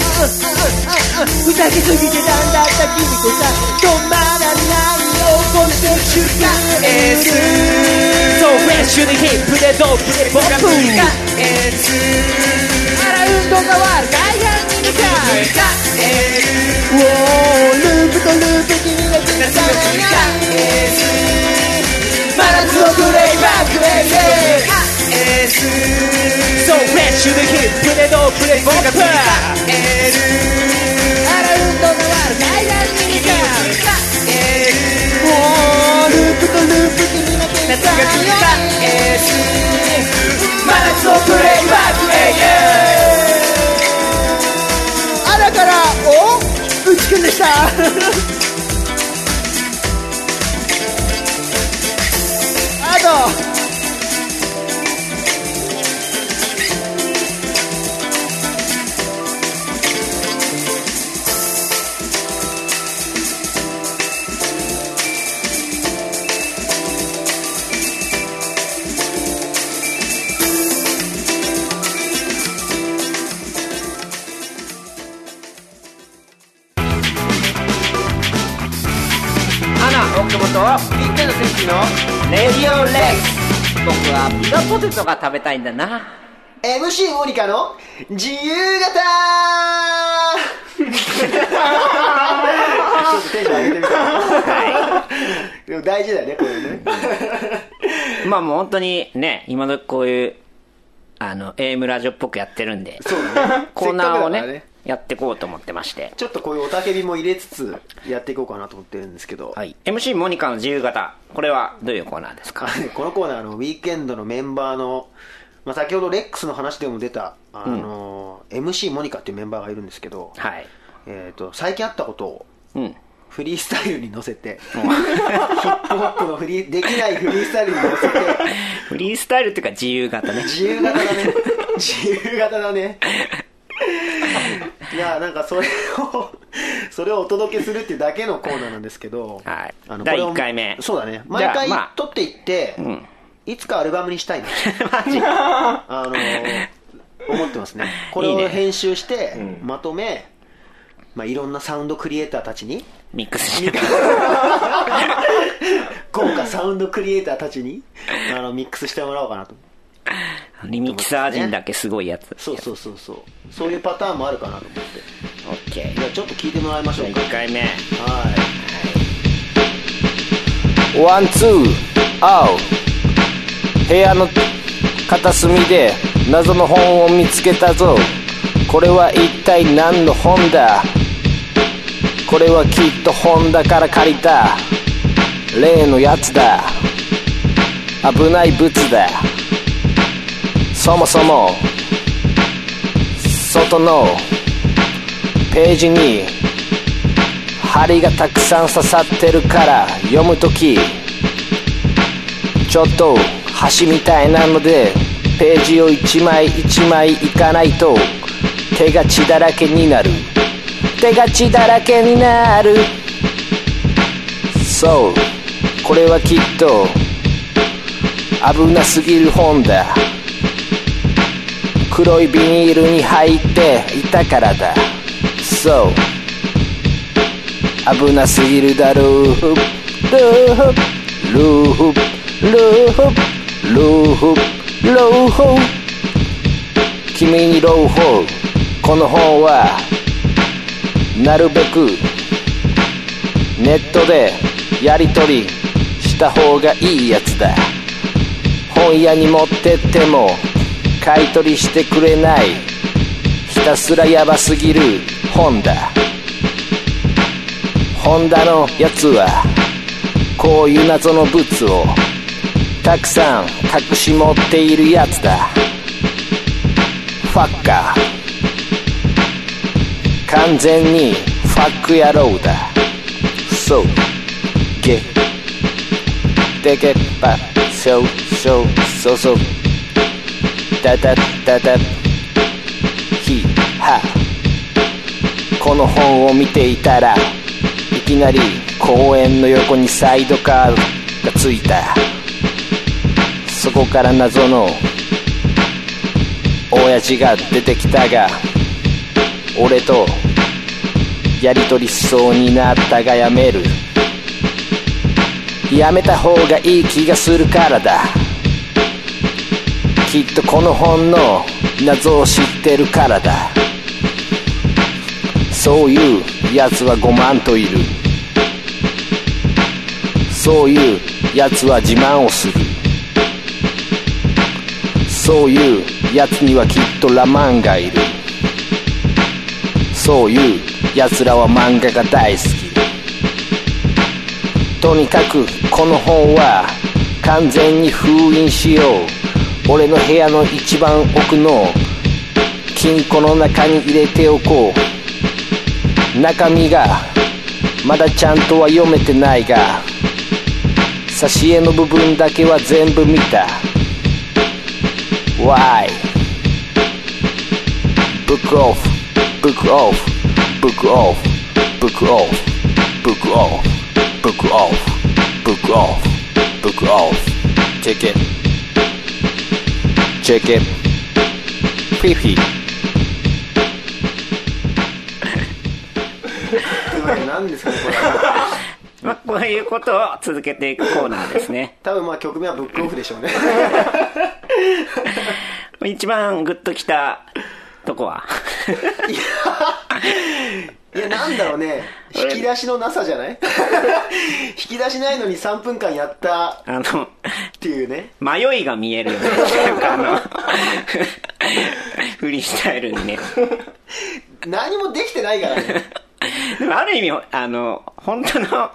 Speaker 5: うんうんうんうんふざけすぎてなんだった君とさ止まらない怒るセクシュが
Speaker 4: S そうフレッシュでヒップでドープでポップが S アラウンドがわる海岸に向かうが S
Speaker 5: ウォーループとループ君が気づかない
Speaker 4: 真夏のプレイバックレイデそうフレッシュでヒップでドープでポップアラウンドがわる海岸に向か
Speaker 5: ウォーループとループ君が気づ
Speaker 4: 夏
Speaker 5: か
Speaker 4: が来
Speaker 5: ない
Speaker 4: た S 真夏のプレイバックレイ
Speaker 5: あらからおうちくんでしたあと
Speaker 1: アナ奥本ピンクの選手のレディオレックス僕はピザポテトが食べたいんだな
Speaker 2: MC モニカの自由形ちょっとテンション上げてみた、でも大事だよねこれね
Speaker 1: まあもう本当にね今のこういうあの AM ラジオっぽくやってるんで
Speaker 2: そうだね
Speaker 1: コーナーを
Speaker 2: せっかくだか
Speaker 1: ね
Speaker 2: らね
Speaker 1: やってこうと思ってまして
Speaker 2: ちょっとこういうおたけびも入れつつやっていこうかなと思ってるんですけど、
Speaker 1: はい MC モニカの自由形これはどういうコーナーです
Speaker 2: [LAUGHS]
Speaker 1: か
Speaker 2: [LAUGHS] このコーナーのウィークエンドのメンバーの、まあ、先ほどレックスの話でも出たあの、MC モニカっていうメンバーがいるんですけど、
Speaker 1: はい
Speaker 2: えー、と最近あったことを
Speaker 1: うん
Speaker 2: フリースタイルに乗せて、ヒップホップのフリーできないフリースタイルに乗せて
Speaker 1: フリースタイルっていうか自由形ね
Speaker 2: 自由形だね自由形だねいやなんかそれをそれをお届けするっていうだけのコーナーなんですけど、
Speaker 1: はい
Speaker 2: あの
Speaker 1: 第
Speaker 2: これを
Speaker 1: 一回目
Speaker 2: そうだね
Speaker 1: じゃ
Speaker 2: 毎
Speaker 1: あ
Speaker 2: 回
Speaker 1: まあ
Speaker 2: 撮っていって、
Speaker 1: ん
Speaker 2: いつかアルバムにした
Speaker 1: [LAUGHS]
Speaker 2: いなあの思ってますねこれ
Speaker 1: いい
Speaker 2: を
Speaker 1: ね
Speaker 2: 編集して
Speaker 3: うん
Speaker 2: まとめまあ、いろんなサウンドクリエイターたちに
Speaker 1: ミックスして
Speaker 2: 豪華サウンドクリエイターたちにあのミックスしてもらおうかなと
Speaker 1: リミキサー人だけすごいやつ
Speaker 2: そうそうそうそうそういうパターンもあるかなと思って
Speaker 1: オッケー
Speaker 2: じゃあちょっと聞いてもらいましょうか
Speaker 1: 1回目
Speaker 2: はい
Speaker 4: ワンツー青部屋の片隅で謎の本を見つけたぞこれは一体何の本だこれはきっと本だから借りた例のやつだ危ない物だそもそも外のページに針がたくさん刺さってるから読むときちょっと端みたいなのでページを一枚一枚いかないと手が血だらけになる手が血だらけになるそうこれはきっと危なすぎる本だ黒いビニールに入っていたからだそう危なすぎるだルーフルーフルーフルーフルーフルーフ君に朗報この本はなるべくネットでやり取りした方がいいやつだ本屋に持ってっても買い取りしてくれないひたすらヤバすぎる本だホンダのやつはこういう謎のブツをたくさん隠し持っているやつだファッカー完全にファック野郎だそうゲテケッパショーショーソソタタタタヒハこの本を見ていたらいきなり公園の横にサイドカーがついたそこから謎の親父が出てきたが俺とやりとりしそうになったがやめるやめた方がいい気がするからだきっとこの本の謎を知ってるからだそういう奴は5万といるそういう奴は自慢をするそういう奴にはきっとラマンがいるそういう奴らは漫画が大好きとにかくこの本は完全に封印しよう俺の部屋の一番奥の金庫の中に入れておこう中身がまだちゃんとは読めてないが挿絵の部分だけは全部見た Why? Book off, book off, book off, book off, book off, book off, book off, book off. Check it, check it. Fifi.
Speaker 2: というわけで何ですかねこれは
Speaker 1: まあ、こういうことを続けていくコーナーですね [LAUGHS]
Speaker 2: 多分まあ曲名はブックオフでしょう [LAUGHS] ね
Speaker 1: 一番グッときたとこは [LAUGHS]
Speaker 2: いやなんだろうね引き出しのなさじゃない引き出しないのに3分間やった
Speaker 1: あの
Speaker 2: っていうね
Speaker 1: 迷いが見えるよ [LAUGHS] ねなんかあのフリースタイルにね
Speaker 2: 何もできてないからね [LAUGHS]
Speaker 1: でもある意味あの本当の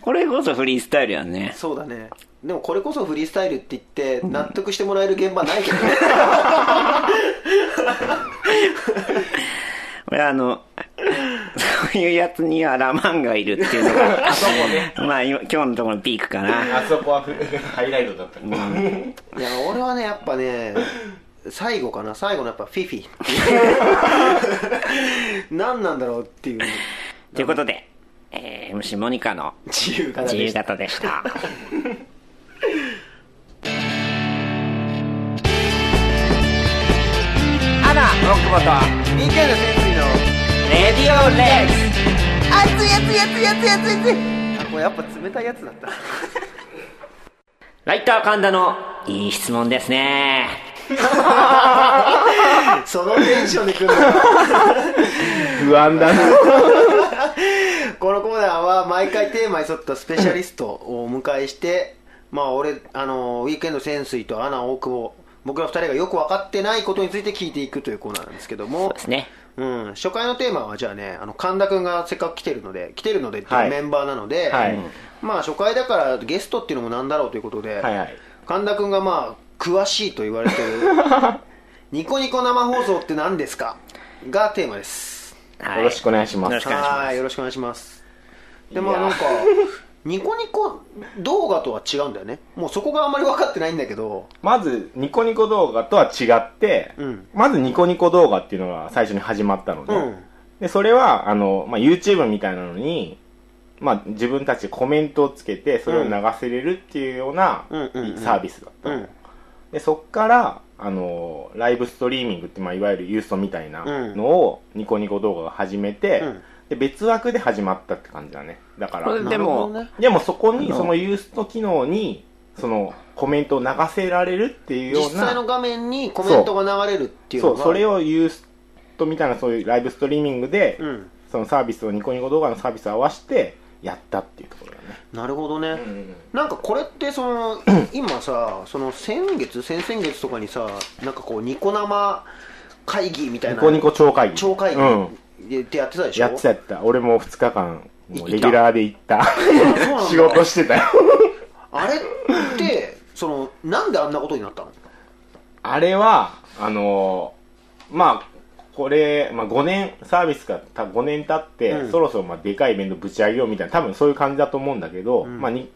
Speaker 1: これこそフリースタイルやね
Speaker 2: そうだねでもこれこそフリースタイルって言って納得してもらえる現場ないけどね、
Speaker 1: これあのそういうやつにはラマンがいるっていうのがまあ今今日のところのピークかな
Speaker 3: あそこはふ [LAUGHS] ハイライトだったから、
Speaker 2: いや俺はねやっぱね最後かな
Speaker 1: [LAUGHS]
Speaker 2: 最後のやっぱフィフィ何なんだろうっていう
Speaker 1: ということで、えー、MC モニカの
Speaker 2: 自由形
Speaker 1: 自
Speaker 2: で
Speaker 1: 由
Speaker 2: した
Speaker 1: 形でした。アナ、ロックボと、
Speaker 2: みんなの潜水の
Speaker 1: レディオレックス
Speaker 5: 熱い熱い熱い熱い熱い熱い
Speaker 2: あこれやっぱ冷たいやつだった
Speaker 1: ライター神田のいい質問ですね。 [LAUGHS]
Speaker 2: そのテンションで来るの
Speaker 3: 不安だな。
Speaker 2: このコーナーは毎回テーマに沿ったスペシャリストをお迎えしてまあ俺あのウィークエンド潜水とアナ大久保僕ら二人がよく分かってないことについて聞いていくというコーナーなんですけども
Speaker 1: そうですね。
Speaker 2: うん、初回のテーマはじゃあねあの神田君がせっかく来てるので来てるのでって
Speaker 3: はいいう
Speaker 2: メンバーなので、
Speaker 3: はい
Speaker 2: まあ初回だからゲストっていうのもなんだろうということで、
Speaker 3: はいはい
Speaker 2: 神田君がまあ詳しいと言われてる
Speaker 3: [LAUGHS]
Speaker 2: ニコニコ生放送って何ですかがテーマです
Speaker 1: は
Speaker 3: よろしくお願いします
Speaker 1: よろしくお願いしま
Speaker 2: はいよろしくお願いしますでまあ
Speaker 3: いや
Speaker 2: なんかニコニコ動画とは違うんだよねもうそこがあんまり分かってないんだけど
Speaker 3: まず、ニコニコ動画とは違って、
Speaker 2: うん
Speaker 3: まずニコニコ動画っていうのが最初に始まったので、
Speaker 2: うん
Speaker 3: でそれは、あの、まあ、YouTube みたいなのに、まあ、自分たちでコメントをつけて、それを流せれるっていうような
Speaker 2: うんうんうん
Speaker 3: サービスだった
Speaker 2: う
Speaker 3: の、
Speaker 2: ん
Speaker 3: で、そっから、あの、ライブストリーミングって、まあ、いわゆるユーストみたいな
Speaker 2: うん
Speaker 3: のを、ニコニコ動画が始めて、
Speaker 2: うん
Speaker 3: で、別枠で始まったって感じだね。だから、
Speaker 1: これでも
Speaker 2: なるほどね
Speaker 3: でもそこに、そのユースト機能に、そのコメントを流せられるっていうよ
Speaker 2: 実
Speaker 3: う
Speaker 2: 際の
Speaker 3: な、
Speaker 2: 画面にコメントが流れるっていう
Speaker 3: そ
Speaker 2: の
Speaker 3: う、
Speaker 2: が
Speaker 3: それをユーストみたいな、そういうライブストリーミングで、
Speaker 2: うん
Speaker 3: そのサービスを、ニコニコ動画のサービスを合わせて、やったっていうところだね。
Speaker 2: なるほどね、
Speaker 3: ん
Speaker 2: なんかこれってその
Speaker 3: [COUGHS]
Speaker 2: 今さその先月先々月とかにさなんかこうニコ生会議みたい
Speaker 3: ニ
Speaker 2: な
Speaker 3: コニコ超会議。
Speaker 2: 超会
Speaker 3: うん。
Speaker 2: 議ってやってたでしょ、
Speaker 3: やってたやってた。俺も2日間、もう
Speaker 2: い
Speaker 3: レギュラーで行った。
Speaker 2: [LAUGHS] そうなんだ
Speaker 3: [LAUGHS] 仕事してたよ。
Speaker 2: あれってそのなんであんなことになったの
Speaker 3: あれは、あのーまあ、これ、まあ、5年、サービスがた5年経って、
Speaker 2: うん
Speaker 3: そろそろまあでかいイベントぶち上げようみたいな、多分そういう感じだと思うんだけど、まあに、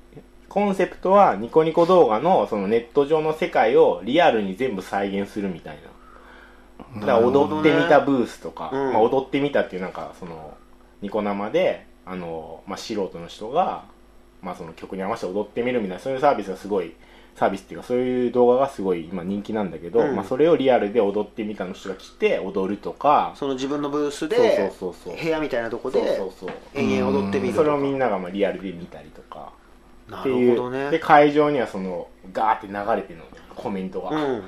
Speaker 3: コンセプトはニコニコ動画のそのネット上の世界をリアルに全部再現するみたいな。だから踊ってみたブースとか、
Speaker 2: うん
Speaker 3: まあ、踊ってみたっていうなんか、その、ニコ生で、あのーまあ、素人の人が、まあ、その曲に合わせて踊ってみるみたいなそういうサービスがすごいサービスっていうかそういう動画がすごい今人気なんだけど、
Speaker 2: うん
Speaker 3: まあ、それをリアルで踊ってみたの人が来て踊るとか
Speaker 2: その自分のブース
Speaker 3: そう
Speaker 2: で
Speaker 3: そうそうそう
Speaker 2: 部屋みたいなとこ
Speaker 3: そう
Speaker 2: で
Speaker 3: そうそう
Speaker 2: 延々踊ってみる
Speaker 3: そ
Speaker 2: と
Speaker 3: れ
Speaker 2: か
Speaker 3: をみんながまあリアルで見たりとかっ
Speaker 2: な
Speaker 3: てい
Speaker 2: る
Speaker 3: う
Speaker 2: ほどね
Speaker 3: で会場にはそのガーって流れてるのコメントが、
Speaker 2: うん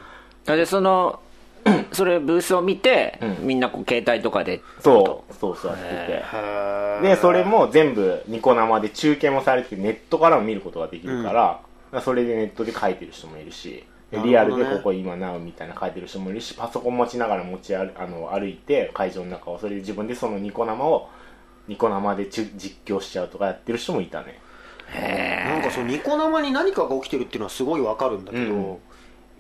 Speaker 1: す。で、その、 [CLEARS THROAT] それブースを見て、
Speaker 3: うん
Speaker 1: みんなこう携帯とかで、
Speaker 3: そうそうそうやっててでそれも全部ニコ生で中継もされててネットからも見ることができるから、それでネットで書いてる人もいるし
Speaker 2: なるほどね
Speaker 3: リアルでここ今なうみたいな書いてる人もいるしパソコン持ちながら持ち歩あの歩いて会場の中をそれで自分でそのニコ生をニコ生でちゅ実況しちゃうとかやってる人もいたね
Speaker 2: なんかそのニコ生に何かが起きてるっていうのはすごいわかるんだけど、
Speaker 3: うん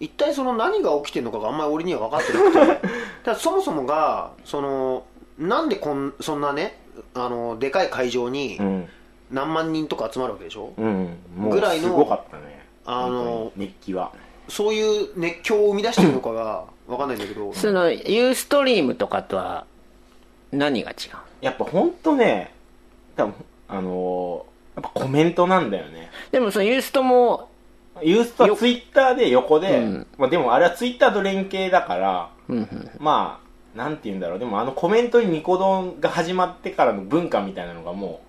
Speaker 2: 一体その何が起きてるのかがあんまり俺には分かってな
Speaker 3: [LAUGHS]
Speaker 2: くてただそもそもがそのなんでこんそんなねあのでかい会場に
Speaker 3: うん
Speaker 2: 何万人とか集まるわけでしょ、
Speaker 3: うんも
Speaker 2: ぐ
Speaker 3: う
Speaker 2: らいの
Speaker 3: すごかったね
Speaker 2: あの
Speaker 3: 本当に熱気は
Speaker 2: そういう熱狂を生み出してるのかが分かんないんだけど
Speaker 1: その、ユーストリームとかとは、何が違う
Speaker 3: やっぱ本当ね多分あのやっぱコメントなんだよね
Speaker 1: でもそのユーストも、
Speaker 3: ユースとはツイッターで横で、
Speaker 1: うん
Speaker 3: まあ、でもあれはツイッターと連携だから、
Speaker 1: うんうん
Speaker 3: まあ、なんて言うんだろう、でもあのコメントにニコ丼が始まってからの文化みたいなのがも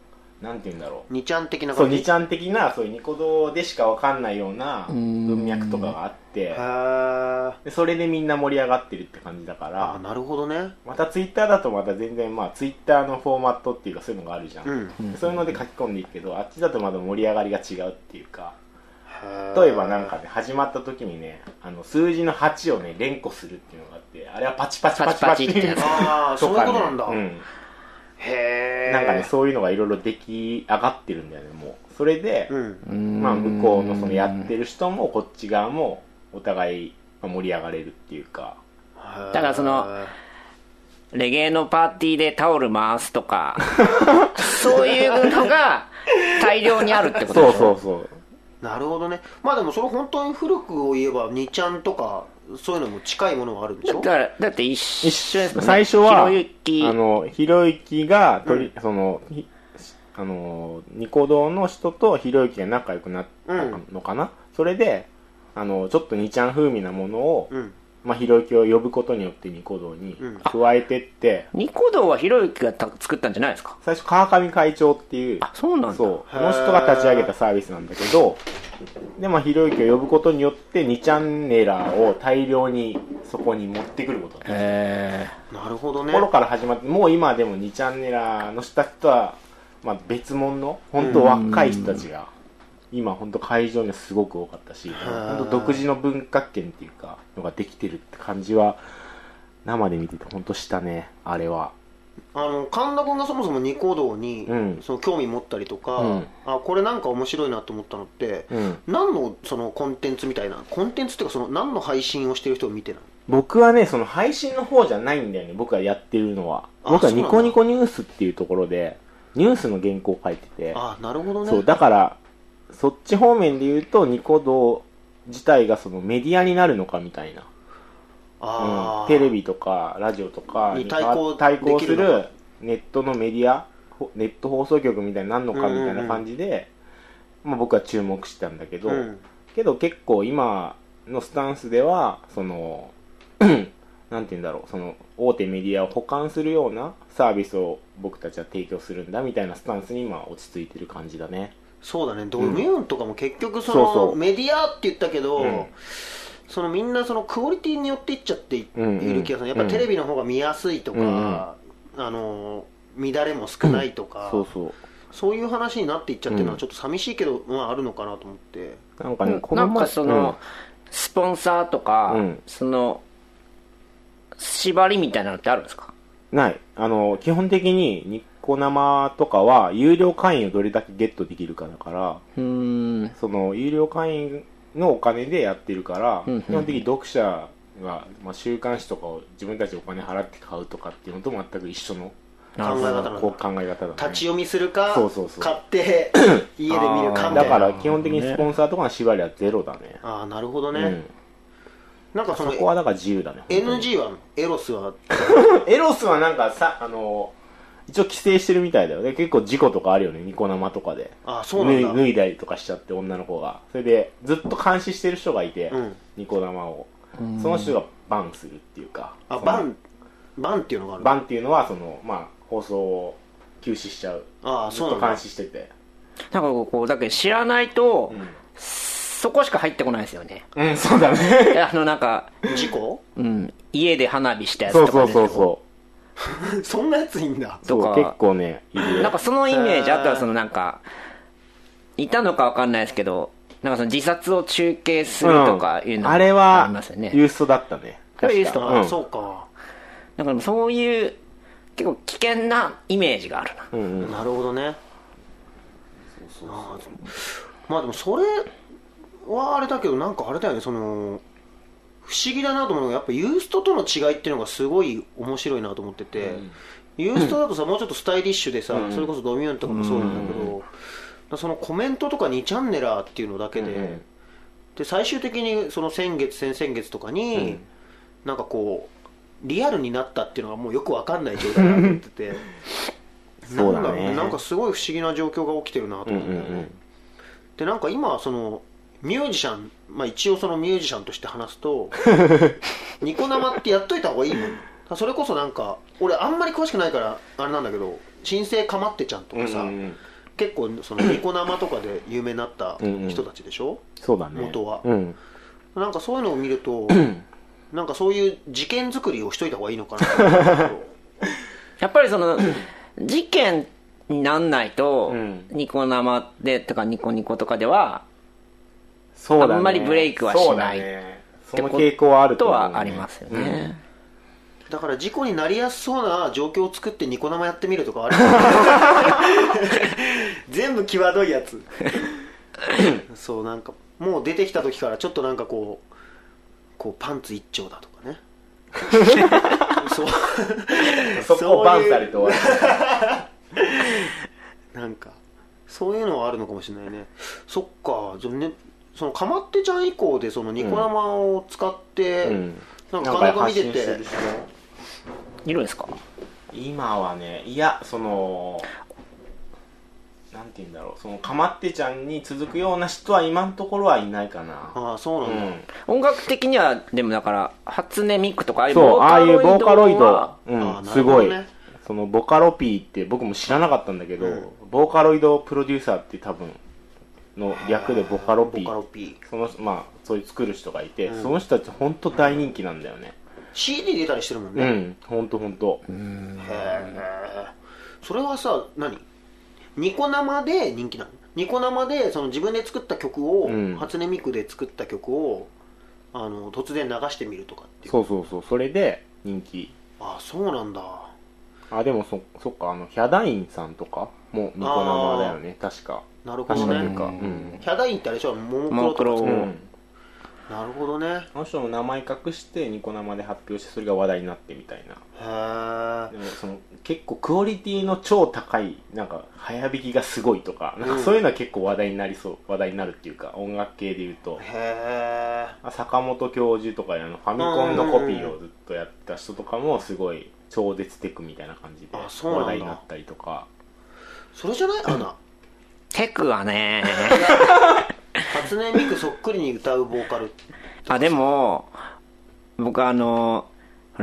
Speaker 3: う、なんて言うんだろう。
Speaker 2: 二ちゃん的な
Speaker 3: そう、
Speaker 2: 感じ
Speaker 3: 二ちゃん的な、そういうニコ動でしかわかんないような
Speaker 1: うん
Speaker 3: 文脈とかがあって
Speaker 2: へ、ー
Speaker 3: でそれでみんな盛り上がってるって感じだか
Speaker 2: あ
Speaker 3: ら、
Speaker 2: なるほどね
Speaker 3: またツイッターだとまた全然、まあツイッターのフォーマットっていうかそういうのがあるじゃん。
Speaker 2: うん
Speaker 3: そういうので書き込んでいくけど、あっちだとまだ盛り上がりが違うっていうか、
Speaker 2: 例
Speaker 3: 例えばなんかね、始まった時にね、あの、数字の8をね、連呼するっていうのがあって、あれはパチパチパチパチ
Speaker 1: パチパチってやつ
Speaker 2: ああそういうことなんだ、
Speaker 3: とかねうん
Speaker 2: へえ
Speaker 3: なんかね、そういうのがいろいろ出来上がってるんだよね、もう。それで、
Speaker 2: うん
Speaker 3: まあ、向こうのそのやってる人も、こっち側も、お互いまあ盛り上がれるっていうか、
Speaker 2: だ
Speaker 1: からそのレゲエのパーティーでタオル回すと
Speaker 3: [LAUGHS]
Speaker 1: か、そういうのが大量にあるってこと
Speaker 3: そ
Speaker 1: で
Speaker 3: う
Speaker 1: しょ
Speaker 3: そうそう。
Speaker 2: なるほどねまあでもそれ本当に古くを言えば2ちゃんとかそういうのも近いものがあるんでし
Speaker 1: だ
Speaker 2: ょ
Speaker 1: からだって一緒ですもんね
Speaker 3: 最初
Speaker 1: ひ
Speaker 3: は、
Speaker 1: ろゆき
Speaker 3: あの、ひろゆきが、とり、その、ひあの、ニコ動の人とひろゆきが仲良くなったのかな、それで、あの、ちょっと二ちゃん風味なものを、
Speaker 2: うん
Speaker 3: まあ、ひろゆきを呼ぶことによってニコ動に
Speaker 2: うん
Speaker 3: 加えてって、
Speaker 1: ニコ動はひろゆきがた作ったんじゃないですか
Speaker 3: 最初川上会長っていう
Speaker 1: あそうなんだ
Speaker 3: そうこの人が立ち上げたサービスなんだけどでまあひろゆきを呼ぶことによって2チャンネラーを大量にそこに持ってくることができた
Speaker 1: へえ
Speaker 2: なるほどね
Speaker 3: 頃から始まってもう今でも2チャンネラーの人たちとは、まあ、別物の本当若い人たちが今本当会場にはすごく多かったし
Speaker 2: ー
Speaker 3: 本当独自の文化圏っていうかのができてるって感じは生で見てて本当したねあれは
Speaker 2: あの神田君がそもそもニコ動に、
Speaker 3: うん
Speaker 2: その興味持ったりとか、
Speaker 3: うん
Speaker 2: あこれなんか面白いなと思ったのって、
Speaker 3: うん
Speaker 2: 何のそのコンテンツみたいなコンテンツっていうかその何の配信をしてる人を見てない
Speaker 3: 僕はね、その配信の方じゃないんだよね、僕がやってるのは。
Speaker 2: あ
Speaker 3: 僕
Speaker 2: そ
Speaker 3: は
Speaker 2: うな
Speaker 3: ニ
Speaker 2: んだ
Speaker 3: コニコニュースっていうところで、ニュースの原稿を書いてて、
Speaker 2: あなるほどね
Speaker 3: そう、だから、そっち方面で言うと、ニコ動自体がそのメディアになるのかみたいな。
Speaker 2: あ
Speaker 3: うん
Speaker 2: ー
Speaker 3: テレビとかラジオとか
Speaker 2: に
Speaker 3: に
Speaker 2: 対抗
Speaker 3: 対抗
Speaker 2: でき
Speaker 3: す
Speaker 2: るの
Speaker 3: るネットのメディアほネット放送局みたいになんのかみたいな感じで、まあ、僕は注目してたんだけど、
Speaker 2: うん
Speaker 3: けど結構今のスタンスではその [CLEARS THROAT] なんて言うんだろうその大手メディアを補完するようなサービスを僕たちは提供するんだみたいなスタンスに今落ち着いてる感じだね
Speaker 2: そうだねドミューンとかも結局その
Speaker 3: そうそう
Speaker 2: メディアって言ったけど、
Speaker 3: うん
Speaker 2: そのみんなそのクオリティによっていっちゃってい,、
Speaker 3: うんうん
Speaker 2: る気がするやっぱテレビの方が見やすいとか、
Speaker 3: うんうん
Speaker 2: あの乱れも少ないとか、
Speaker 3: そうそう
Speaker 2: そういう話になっていっちゃってるのはちょっと寂しいけど、まああるのかなと思って
Speaker 3: なんかね、こ
Speaker 1: な
Speaker 3: の
Speaker 1: ん
Speaker 3: 前
Speaker 1: かその、スポンサーとか、
Speaker 3: うん
Speaker 1: その縛りみたいなのってあるんですか
Speaker 3: うんないあの基本的にニコ生とかは有料会員をどれだけゲットできるかだから
Speaker 1: うーん
Speaker 3: その有料会員のお金でやってるから、
Speaker 1: うんうん
Speaker 3: 基本的に読者が、まあ、週刊誌とかを自分たちでお金払って買うとかっていうのと全く一緒の
Speaker 2: 考え方なんだ
Speaker 3: こう考え方だ、ね、
Speaker 2: 立ち読みするか
Speaker 3: そうそうそう
Speaker 2: 買って家で見るかみた
Speaker 3: だ
Speaker 2: い
Speaker 3: か
Speaker 2: な
Speaker 3: ら基本的にスポンサーとかの縛りはゼロだね
Speaker 2: ああなるほどね、
Speaker 3: うん、
Speaker 2: なんかその
Speaker 3: そこはだから自由だね本当に
Speaker 2: NG はエロスは
Speaker 3: エロスはなんかさあの一応規制してるみたいだよね結構事故とかあるよねニコ生とかで
Speaker 2: ああそうなん
Speaker 3: 脱い
Speaker 2: だ
Speaker 3: 脱いだりとかしちゃって女の子がそれでずっと監視してる人がいて、
Speaker 2: うん
Speaker 3: ニコ生をその人がバンするっていうか
Speaker 2: あ
Speaker 3: その
Speaker 2: バンバンっていうのがある
Speaker 3: バンっていうのはその、まあ、放送を休止しちゃう
Speaker 2: ああ
Speaker 3: ず
Speaker 2: そ
Speaker 3: っ
Speaker 2: うな
Speaker 3: と
Speaker 2: んだ
Speaker 3: 監視してて
Speaker 1: なんかこうだけど知らないと、
Speaker 3: うん、
Speaker 1: そこしか入ってこないですよね
Speaker 3: うん、そう
Speaker 2: [LAUGHS]
Speaker 3: だね
Speaker 1: あのなんか、
Speaker 2: 事故
Speaker 1: うん、家で花火したや
Speaker 3: そ
Speaker 1: つと
Speaker 3: うそ
Speaker 1: か
Speaker 3: う
Speaker 1: ね
Speaker 3: そうそ
Speaker 2: [LAUGHS]
Speaker 3: う
Speaker 2: そんなやついいんだ
Speaker 1: と
Speaker 3: そう
Speaker 1: か
Speaker 3: 結構ねいるよ
Speaker 1: なんかそのイメージあとはそのなんかいたのかわかんないですけどなんかその自殺を中継するとかいうのも
Speaker 3: あれ
Speaker 1: あり
Speaker 3: は
Speaker 1: ますよね
Speaker 3: ユーストだったね
Speaker 1: あれユースト
Speaker 2: ああ、
Speaker 3: うん
Speaker 2: そうか
Speaker 1: だからそういう結構危険なイメージがあるな
Speaker 3: うんうん
Speaker 2: なるほどねああまあでもそれはあれだけどなんかあれだよねその不思議だなと思うのがやっぱユーストとの違いっていうのがすごい面白いなと思ってて、ユーストだとさもうちょっとスタイリッシュでさ、それこそドミューンとかもそうなんだけど、だからそのコメントとか2チャンネラーっていうのだけで、
Speaker 3: うん
Speaker 2: で最終的にその先月先々月とかに、なんかこうリアルになったっていうのがもうよくわかんない状態になってて
Speaker 3: [LAUGHS] そうだね
Speaker 2: なんろなんかすごい不思議な状況が起きてるなと
Speaker 3: うんう
Speaker 2: 思
Speaker 3: ん
Speaker 2: って、でなんか今そのミュージシャン、まあ、一応そのミュージシャンとして話す
Speaker 3: [LAUGHS]
Speaker 2: とニコ生ってやっといた方がいいもんそれこそなんか俺あんまり詳しくないからあれなんだけど「新生かまってちゃん」と
Speaker 3: うんう
Speaker 2: かさ、
Speaker 3: んうん
Speaker 2: 結構そのニコ生とかで有名になった人たちでしょ、
Speaker 3: そうだね
Speaker 2: 元は
Speaker 3: うん
Speaker 2: なんかそういうのを見るとなんかそういう事件作りをしといた方がいいのかなと思うんだけど
Speaker 1: やっぱりその [CLEARS THROAT] 事件になんないと、
Speaker 3: うん
Speaker 1: ニコ生でとかニコニコとかでは
Speaker 3: そうだね
Speaker 1: あんまりブレイクはしない
Speaker 3: そうだねその傾向はある
Speaker 1: と
Speaker 3: 思うね
Speaker 1: はありますよね、
Speaker 2: だから事故になりやすそうな状況を作ってニコ生やってみるとかある全部際どいやつそうなんかもう出てきた時からちょっとなんかこうこうパンツ一丁だとかねそう
Speaker 3: うんそこをバンされて終わる
Speaker 2: なんかそういうのはあるのかもしれないねそっかじゃあねそのかまってちゃん以降でそのニコ生を使って、
Speaker 3: うん
Speaker 2: なんか感覚見て
Speaker 3: なんか発信して
Speaker 2: て
Speaker 3: る人
Speaker 1: いるんですか
Speaker 3: 今はねいやそのなんて言うんだろうそのかまってちゃんに続くような人は今のところはいないかな
Speaker 2: ああそうなんだ、
Speaker 1: 音楽的にはでもだから初音ミクとかああ
Speaker 3: う
Speaker 1: いう
Speaker 3: んそうああいうボーカロイ
Speaker 1: は
Speaker 3: ド、う
Speaker 2: あ
Speaker 3: ん、
Speaker 2: ー
Speaker 3: すごい
Speaker 2: なるほどね
Speaker 3: そのボカロ P って僕も知らなかったんだけど、ボーカロイドプロデューサーって多分の略でボカロ P
Speaker 2: ボカロ P
Speaker 3: そのまあそういう作る人がいて、その人たち本当大人気なんだよね
Speaker 2: CD 出たりしてるもん
Speaker 3: う
Speaker 2: ね、
Speaker 3: ん本当本当
Speaker 2: へえそれはさ何ニコ生で人気なのニコ生でその自分で作った曲を、
Speaker 3: うん
Speaker 2: 初音ミクで作った曲をあの突然流してみるとかっていう
Speaker 3: そうそうそうそれで人気
Speaker 2: ああそうなんだ
Speaker 3: あでもそそっかあのヒャダインさんとかもニコ生だよね確か
Speaker 2: なるほ
Speaker 3: 確
Speaker 2: ど
Speaker 3: かという
Speaker 2: ね
Speaker 3: か、う
Speaker 1: うん
Speaker 3: ん
Speaker 2: ヒャダインってあれでしょモ
Speaker 1: モ
Speaker 2: モ
Speaker 1: ノ
Speaker 2: ク
Speaker 1: ク
Speaker 2: ロ
Speaker 1: ロ
Speaker 2: と
Speaker 1: を、
Speaker 2: か
Speaker 3: う
Speaker 1: うん
Speaker 3: ん、
Speaker 2: なるほどね
Speaker 3: あの人の名前隠してニコ生で発表してそれが話題になってみたいな
Speaker 2: へえ
Speaker 3: でもその結構クオリティの超高いなんか早弾きがすごいとかなんかそういうのは結構話題になりそう話題になるっていうか音楽系でいうと
Speaker 2: へえ
Speaker 3: 坂本教授とかあのファミコンのコピーをずっとやってた人とかもすごい超絶テクみたいな感じで
Speaker 2: あそうなんだ
Speaker 3: 話題になったりとか
Speaker 2: それじゃないアナ
Speaker 1: テクはね [LAUGHS]
Speaker 2: 初音ミクそっくりに歌うボーカル
Speaker 1: あでも僕あの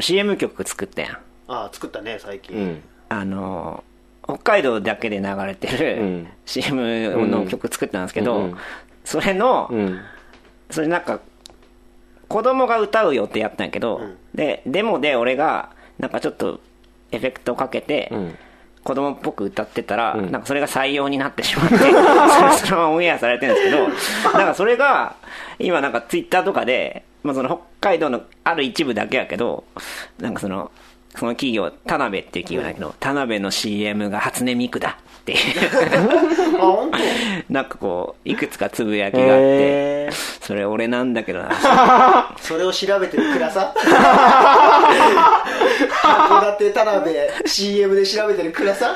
Speaker 1: CM 曲作ったやん
Speaker 2: ああ作ったね最
Speaker 3: う
Speaker 2: 近、
Speaker 3: ん
Speaker 1: あの北海道だけで流れてる、
Speaker 3: うん
Speaker 1: CM の曲作ったんですけど、
Speaker 3: うんうん
Speaker 1: それの、
Speaker 3: うん
Speaker 1: それなんか子供が歌う予定やったんやけど、
Speaker 2: うん
Speaker 1: でデモで俺がなんかちょっとエフェクトをかけて、
Speaker 3: うん
Speaker 1: 子供っぽく歌ってたら、
Speaker 3: ん
Speaker 1: なんかそれが採用になってしまって
Speaker 3: [LAUGHS]
Speaker 1: それそのままオンエアされてるんですけどなんかそれが今なんかツイッターとかで、まあ、その北海道のある一部だけやけどなんかそのその企業田辺っていう企業だけど、田辺の CM が初音ミクだって
Speaker 3: [LAUGHS]
Speaker 1: いう
Speaker 2: あ本当
Speaker 1: なんかこういくつかつぶやきがあって
Speaker 3: へー
Speaker 1: それ俺なんだけどな
Speaker 2: それを調べてる暗さ函館田辺 CM で調べてる暗
Speaker 3: [LAUGHS]
Speaker 2: さ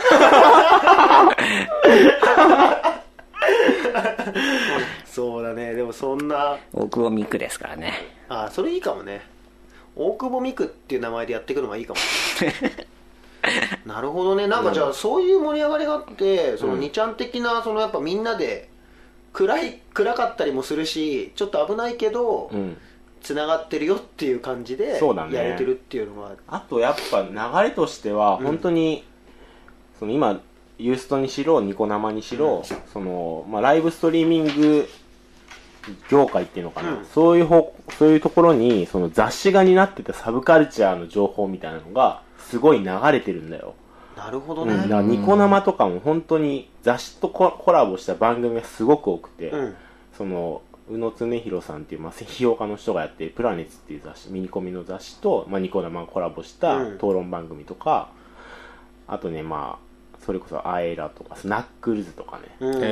Speaker 2: そうだねでもそんな
Speaker 1: 大久保ミクですからね
Speaker 2: あそれいいかもね大久保美久っていう名前でやっていくのがいいかも
Speaker 3: [LAUGHS]
Speaker 2: なるほどねなんかじゃあそういう盛り上がりがあってその2ちゃん的なそのやっぱみんなで暗い暗かったりもするしちょっと危ないけど、
Speaker 3: うん
Speaker 2: つながってるよっていう感じで
Speaker 3: そうだね
Speaker 2: やれてるっていうのは
Speaker 3: あとやっぱ流れとしては本当に、その今ユーストにしろニコ生にしろ、そのまあ、ライブストリーミング業界っていうのかな、
Speaker 2: うん
Speaker 3: そういう方そういうところにその雑誌が担ってたサブカルチャーの情報みたいなのがすごい流れてるんだよ、
Speaker 2: なるほど
Speaker 3: うん
Speaker 2: ね、
Speaker 3: だからニコ生とかも本当に雑誌とココラボした番組がすごく多くて、
Speaker 2: うん
Speaker 3: その宇野恒弘さんっていう、まあ、批評家の人がやってる「プラネッツ」っていう雑誌ミニコミの雑誌と、まあ、ニコ生がコラボした
Speaker 2: うん
Speaker 3: 討論番組とか、あとねまあそれこそ「アエラ」とか「スナックルズ」とかね、
Speaker 2: うんうんうんうんう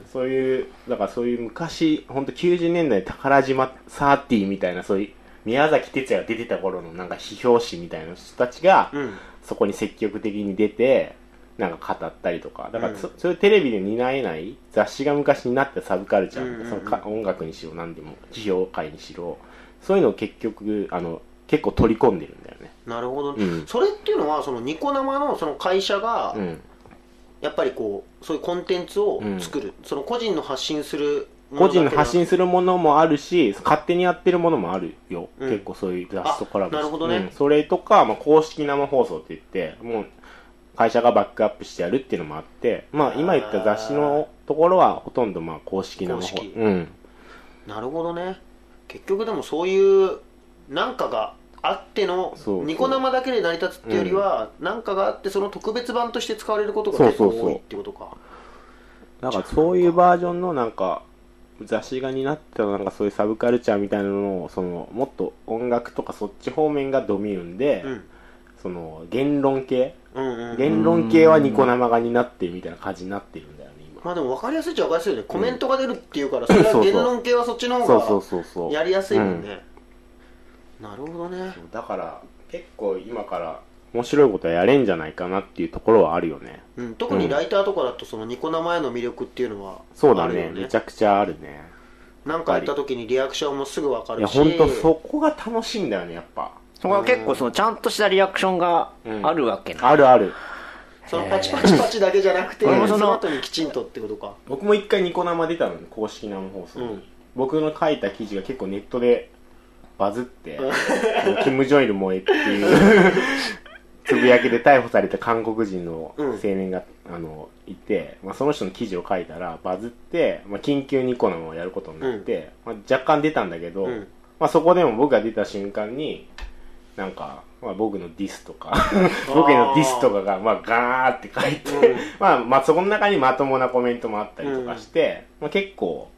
Speaker 2: ん
Speaker 3: そういうだからそういう昔本当90年代宝島サーティみたいなそういう宮崎哲也が出てた頃のなんか批評誌みたいな人たちが、
Speaker 2: うんうん
Speaker 3: そこに積極的に出てなんか語ったりとかだからそ,、そういうテレビで担えない雑誌が昔になったサブカルチャー、
Speaker 2: うんうんうん
Speaker 3: そのか音楽にしろ何でも企業界にしろそういうのを結局あの結構取り込んでるんだよね
Speaker 2: なるほど、
Speaker 3: うん
Speaker 2: それっていうのはそのニコ生のその会社が
Speaker 3: うん
Speaker 2: やっぱりこうそういうコンテンツを作る、その個人の発信するも
Speaker 3: 個
Speaker 2: だけ
Speaker 3: 人
Speaker 2: な
Speaker 3: の発信するものもあるし勝手にやってるものもあるよ、
Speaker 2: うん
Speaker 3: 結構そういう雑誌とコラボして
Speaker 2: あなるほどね
Speaker 3: うんそれとか、まあ、公式生放送って言ってもう会社がバックアップしてやるっていうのもあって、まあ、今言った雑誌のところはほとんどまあ公式生放
Speaker 2: 公
Speaker 3: 送
Speaker 2: 式、
Speaker 3: うん、
Speaker 2: なるほどね結局でもそういうなんかがあっての
Speaker 3: そうそう
Speaker 2: ニコ生だけで成り立つっていうよりは、なんかがあってその特別版として使われることが結構
Speaker 3: そうそうそう
Speaker 2: 多いってことか
Speaker 3: なんかそういうバージョンのなんか雑誌がになったなんかそういうサブカルチャーみたいなのをそのもっと音楽とかそっち方面がドミューンで、
Speaker 2: うん
Speaker 3: その言論系
Speaker 2: うんうん
Speaker 3: 言論系はニコ生がになってみたいな感じになってるんだよね今
Speaker 2: まあでも分かりやすいっちゃ分かりやすいよねコメントが出るっていうからそれは
Speaker 3: そうそう
Speaker 2: 言論系はそっちの
Speaker 3: そうそ
Speaker 2: 方
Speaker 3: うそうそ
Speaker 2: が
Speaker 3: う
Speaker 2: やりやすいもんねなるほどね
Speaker 3: うんだから結構今から面白いことはやれんじゃないかなっていうところはあるよね。
Speaker 2: うん、特にライターとかだとそのニコ生への魅力っていうのは
Speaker 3: そうだ
Speaker 2: ある
Speaker 3: ね
Speaker 2: よ。
Speaker 3: めちゃくちゃあるね。
Speaker 2: なんかやった時にリアクションもすぐわか
Speaker 3: い
Speaker 2: る
Speaker 3: や、
Speaker 2: し
Speaker 3: ほんとそこが楽しいんだよね、やっぱ。
Speaker 1: そこは結構そのちゃんとしたリアクションがあるわけな、
Speaker 3: あるある。
Speaker 2: そのパチパチパチだけじゃなくて
Speaker 1: 俺も
Speaker 2: そ
Speaker 1: その
Speaker 2: の後にきちんとってことか
Speaker 3: 僕も一回ニコ生出たのね、公式生放送に、
Speaker 2: うん
Speaker 3: 僕の書いた記事が結構ネットでバズって、キム・ジョイル萌えって
Speaker 2: [LAUGHS]
Speaker 3: いうつぶやきで逮捕された韓国人の青年が、あのいて、まあ、その人の記事を書いたらバズって、まあ、緊急ニコ生をやることになって、まあ、若干出たんだけど、
Speaker 2: うん
Speaker 3: まあ、そこでも僕が出た瞬間になんか、まあ、僕のディス
Speaker 2: [LAUGHS]
Speaker 3: とか僕へのディスとかが、まあ、ガーって書いて、 [LAUGHS] まあ、まあそこの中にまともなコメントもあったりとかして、まあ、結構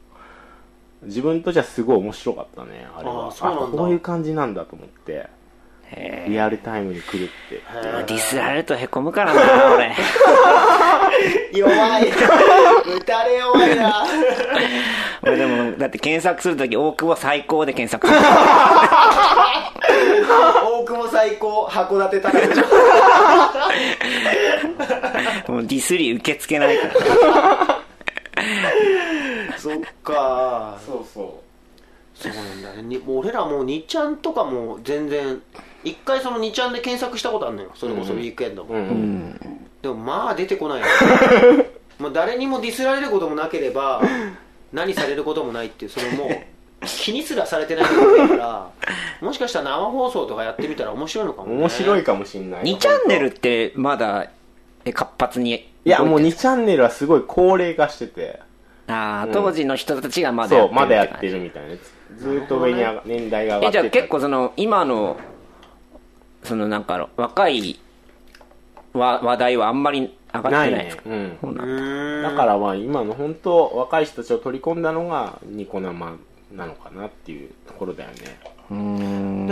Speaker 3: 自分とじゃすごい面白かったねあれは
Speaker 2: あーそうなんだ
Speaker 3: こういう感じなんだと思ってリアルタイムに来るって
Speaker 1: まあディスられるとへこむからな俺
Speaker 2: 弱い打たれ弱い
Speaker 3: [LAUGHS]
Speaker 2: な
Speaker 1: 俺でもだって検索するとき大久保最高で検索する
Speaker 2: 大久保最高函館高
Speaker 3: [LAUGHS]
Speaker 2: 田
Speaker 1: もうディスり受け付けないから
Speaker 2: そっか
Speaker 3: そうそ
Speaker 2: そうなんだねにもう俺らもう2ちゃんとかも全然一回その2ちゃんで検索したことあるのよそれこそウィークエンドも、
Speaker 3: うん、
Speaker 2: でもまあ出てこ
Speaker 3: [LAUGHS]
Speaker 2: ないよもう誰にもディスられることもなけれ
Speaker 3: [LAUGHS]
Speaker 2: ば何されることもないっていうそのもう気にすらされてないことだからもしかしたら生放送とかやってみたら面白いのかも、ね、
Speaker 3: 面白いかもしんない
Speaker 1: 2チャンネルってまだえ活発に
Speaker 3: いやも
Speaker 1: 動
Speaker 3: う
Speaker 1: て
Speaker 3: 2チャンネルはすごい高齢化してて
Speaker 1: あー当時の人たちがまだ
Speaker 3: そうまだや
Speaker 1: 感
Speaker 3: っ
Speaker 1: じ
Speaker 3: てるみたいなずーっと上に上が年代が上が
Speaker 1: え
Speaker 3: っ
Speaker 1: じ
Speaker 3: て
Speaker 1: ゃあ
Speaker 3: た
Speaker 1: 結構その今のそのなんか若い話話題はあんまり上がって
Speaker 3: な
Speaker 1: ないいで
Speaker 3: ね
Speaker 1: すか、
Speaker 3: うん
Speaker 1: そうなんだ
Speaker 3: だからまあ今の本当若い人たちを取り込んだのがニコ生なのかなっていうところだよね
Speaker 2: で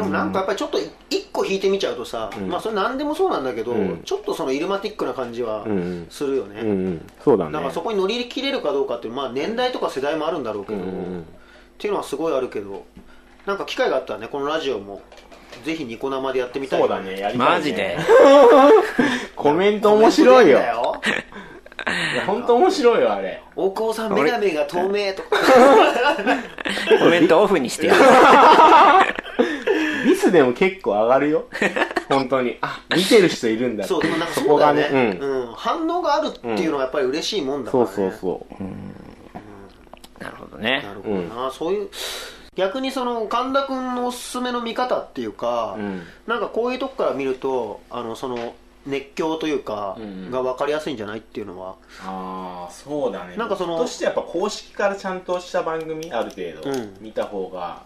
Speaker 2: もなんかやっぱりちょっと一個引いてみちゃうとさ、まあそれ何でもそうなんだけど、
Speaker 3: ん
Speaker 2: ちょっとそのイルマティックな感じは
Speaker 3: ん
Speaker 2: するよね、
Speaker 3: うんうんそうだね
Speaker 2: だからそこに乗り切れるかどうかっていう、まあ、年代とか世代もあるんだろうけど、っていうのはすごいあるけどなんか機会があったらねこのラジオもぜひニコ生でやってみたい
Speaker 3: そうだねやりたいね
Speaker 1: マジで
Speaker 3: コメント面白いよ
Speaker 2: 面だよ
Speaker 3: いや本当面白いよあれ
Speaker 2: 大久保さん眼鏡が透明
Speaker 3: [LAUGHS]
Speaker 2: とか
Speaker 1: コメントオフにしてやる
Speaker 3: ミスでも結構上が
Speaker 2: [LAUGHS]
Speaker 3: るよ本当にあ見てる人いるんだって
Speaker 2: そうでもなんか
Speaker 3: そ
Speaker 2: そ
Speaker 3: こ
Speaker 2: うだ
Speaker 3: が
Speaker 2: よ
Speaker 3: ね
Speaker 2: ね
Speaker 3: うん
Speaker 2: うん反応があるっていうのはやっぱり嬉しいもんだか
Speaker 3: そ
Speaker 2: ら
Speaker 3: う
Speaker 2: ね
Speaker 3: そうそう
Speaker 1: なるほどね
Speaker 2: なるほどな、そういう逆にその神田君のおすすめの見方っていうか、
Speaker 3: ん
Speaker 2: なんかこういうとこから見るとあのその熱狂というか、
Speaker 3: ん
Speaker 2: が分かりやすいんじゃないっていうのは
Speaker 3: ああそうだね
Speaker 2: なんかその
Speaker 3: 僕としてやっぱ公式からちゃんとした番組ある程度
Speaker 2: うん
Speaker 3: 見た方が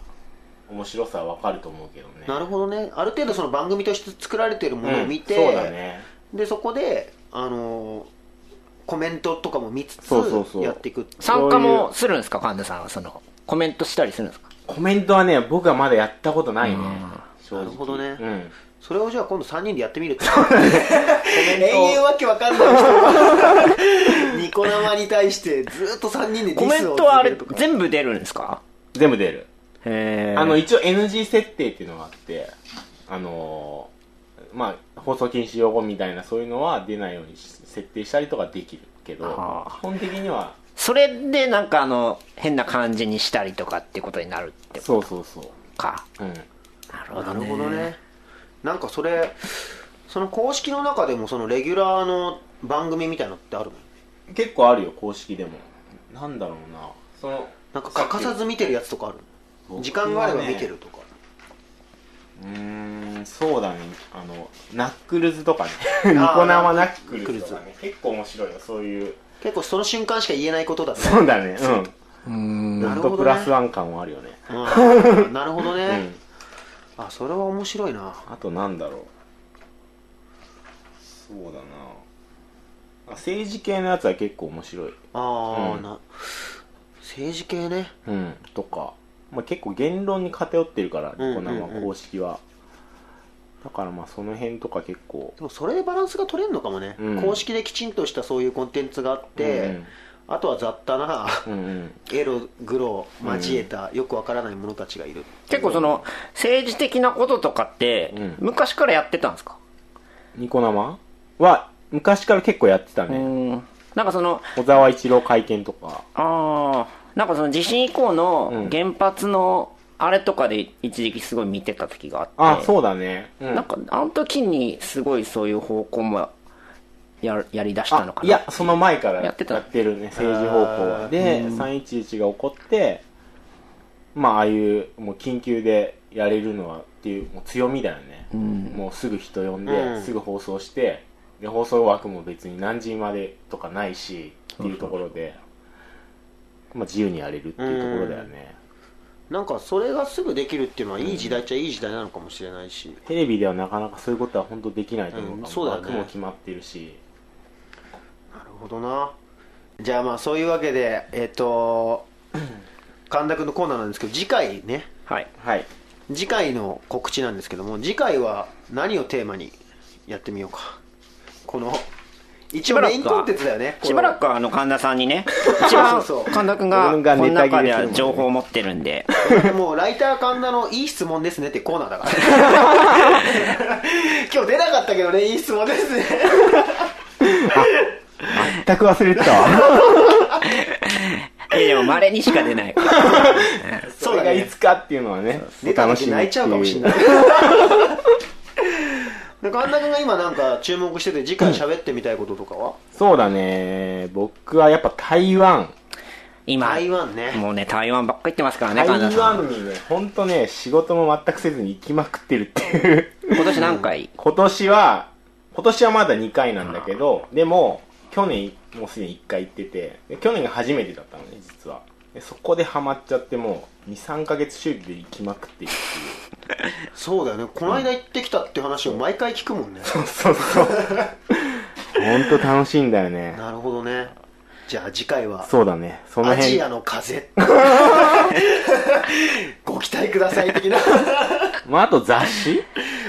Speaker 3: 面白さはわかると思うけどね
Speaker 2: なるほどねある程度その番組として作られてるものを見て、
Speaker 3: うんそうだね
Speaker 2: でそこであのーコメントとかも見つつ
Speaker 3: そうそうそう
Speaker 2: やっていく
Speaker 1: 参加もするんですか神田さんはそのコメントしたりするんですか
Speaker 3: コメントはね、僕はまだやったことないね。正直
Speaker 2: なるほどね
Speaker 3: うん。
Speaker 2: それをじゃあ今度3人でやってみる
Speaker 3: [LAUGHS]
Speaker 2: って永遠わけわかんない人がニコ生に対してずっと3人でデ
Speaker 1: コ
Speaker 2: ィ
Speaker 1: メン
Speaker 2: スを
Speaker 1: トは
Speaker 2: 続
Speaker 1: あ
Speaker 2: け
Speaker 1: れ
Speaker 2: るとか
Speaker 1: 全部出るんですか
Speaker 3: 全部出る。
Speaker 1: へー
Speaker 3: あの、一応 NG 設定っていうのがあって、あのーまあ、放送禁止用語みたいなそういうのは出ないようにし設定したりとかできるけど、
Speaker 1: はあ
Speaker 3: 基本的には、
Speaker 1: それでなんかあの変な感じにしたりとかってことになるってこ
Speaker 3: そうそうそ
Speaker 1: とか
Speaker 3: う。うん。
Speaker 1: なる
Speaker 2: なるほどねなんかそれその公式の中でもそのレギュラーの番組みたいのってあるの
Speaker 3: 結構あるよ、公式でも。なんだろうな。その、
Speaker 2: なんか欠かさず見てるやつとかある
Speaker 3: 僕は
Speaker 2: の
Speaker 3: ね
Speaker 2: 時間があれば見てるとか
Speaker 3: うーん、そうだね。あの、ナックル
Speaker 2: [LAUGHS]
Speaker 3: ズとかね。ニコ
Speaker 2: あー
Speaker 3: 生ナックルズとかね。結構面白いよ、そういう。
Speaker 2: 結構その瞬間しか言えないことだった
Speaker 3: そうだね、うん。
Speaker 2: な
Speaker 3: な
Speaker 2: る
Speaker 3: る
Speaker 2: ほどね
Speaker 3: プラスワン感はあるよね。
Speaker 2: うんなるほどね、あそれは面白いな
Speaker 3: あとなんだろう。そうだな。あ政治系のやつは結構面白い。
Speaker 2: ああ、
Speaker 3: うん
Speaker 2: な政治系ね
Speaker 3: うん。とか、まあ、結構言論に偏ってるから、ニ
Speaker 2: うん
Speaker 3: コ生
Speaker 2: うんうん
Speaker 3: 公式は。だからまあその辺とか結構。
Speaker 2: でもそれでバランスが取れるのかもね、
Speaker 3: うん
Speaker 2: 公式できちんとしたそういうコンテンツがあって、
Speaker 3: うんうん
Speaker 2: あとは雑多な、 [LAUGHS]
Speaker 3: うんうん。
Speaker 2: エログロ交えた、よくわからない者たちがいる
Speaker 1: 結構その政治的なこととかって
Speaker 3: うん
Speaker 1: 昔からやってたんですか、
Speaker 3: ニコ生は、昔から結構やってた
Speaker 1: う
Speaker 3: ね。
Speaker 1: んなんかその
Speaker 3: 小沢一郎会見とか。
Speaker 1: ああなんかその地震以降
Speaker 3: う
Speaker 1: の
Speaker 3: ん
Speaker 1: 原発のあれとかで一時期すごい見てた時があって
Speaker 3: あ、そうだね。うん
Speaker 1: なんかあの時にすごいそういう方向もやるやりだしたのか
Speaker 3: あ
Speaker 1: ない
Speaker 3: や、その前から
Speaker 1: や
Speaker 3: や
Speaker 1: ってた
Speaker 3: ってるね、政治方向は。で、311が起こって、まあ、ああいう、もう緊急でやれるのはっていう、もう強みだよね。もうすぐ人呼んで、
Speaker 2: うん
Speaker 3: すぐ放送して、で、放送枠も別に何時までとかないし、っていうところで、まあ、自由にやれるっていうところだよね。
Speaker 2: なんかそれがすぐできるっていうのはいい時代っちゃいい時代なのかもしれないし
Speaker 3: テレビではなかなかそういうことは本当できないと思うから、
Speaker 2: うんそうだよね
Speaker 3: 枠も決まってるし。
Speaker 2: なるほどなじゃあまあそういうわけでえっ、と [CLEARS THROAT] 神田君のコーナーなんですけど次回ね
Speaker 1: はい
Speaker 3: [LAUGHS] はい。
Speaker 2: 次回の告知なんですけども次回は何をテーマにやってみようかこの一応メインコンテンツだよね
Speaker 1: しばら
Speaker 2: こ
Speaker 1: くはあの神田さんにね一番
Speaker 2: そうそう
Speaker 1: 神田君が
Speaker 3: 俺が
Speaker 1: この
Speaker 3: ネタ切れ
Speaker 1: 中
Speaker 3: するもんね
Speaker 1: では情報を持ってるんで
Speaker 2: れこれもうライター神田のいい質問ですねってコーナーだから今日出なかったけどねいい質問ですね
Speaker 3: 全く忘れてたわ。
Speaker 1: えでも稀にしか出ないから
Speaker 2: そ
Speaker 3: そうれ
Speaker 2: だ
Speaker 3: が
Speaker 2: ね
Speaker 3: いつかっていうのはね、
Speaker 2: 出た時泣いちゃうかもしれないで神田君が今なんか注目してて次回喋ってみたいこととかは、
Speaker 3: そうだね、僕はやっぱ台湾。
Speaker 1: 今
Speaker 2: 台湾ね
Speaker 1: もうね台湾ばっか行ってますからね
Speaker 3: 台
Speaker 1: 神田さん
Speaker 3: 湾にね、ほんとね、仕事も全くせずに行きまくってるって
Speaker 2: [LAUGHS]
Speaker 3: いう。
Speaker 1: 今年何回
Speaker 3: 今年は、今年はまだ2回なんだけど、でも、去年もうすでに1回行ってて、で去年が初めてだったのね、実は。でそこでハマっちゃってもう、2、3ヶ月周期で行きまくってるっ
Speaker 2: そうだよねこの間行ってきたって話を毎回聞くもんね
Speaker 3: ていう。そうそう。ほんと楽しいんだよね。
Speaker 2: なるほどねじゃあ次回は
Speaker 3: そうだね、その
Speaker 2: ア
Speaker 3: 辺
Speaker 2: ジア。の風
Speaker 3: [LAUGHS]
Speaker 2: ご期待ください
Speaker 3: [LAUGHS]
Speaker 2: 的な
Speaker 3: まあ、あと雑誌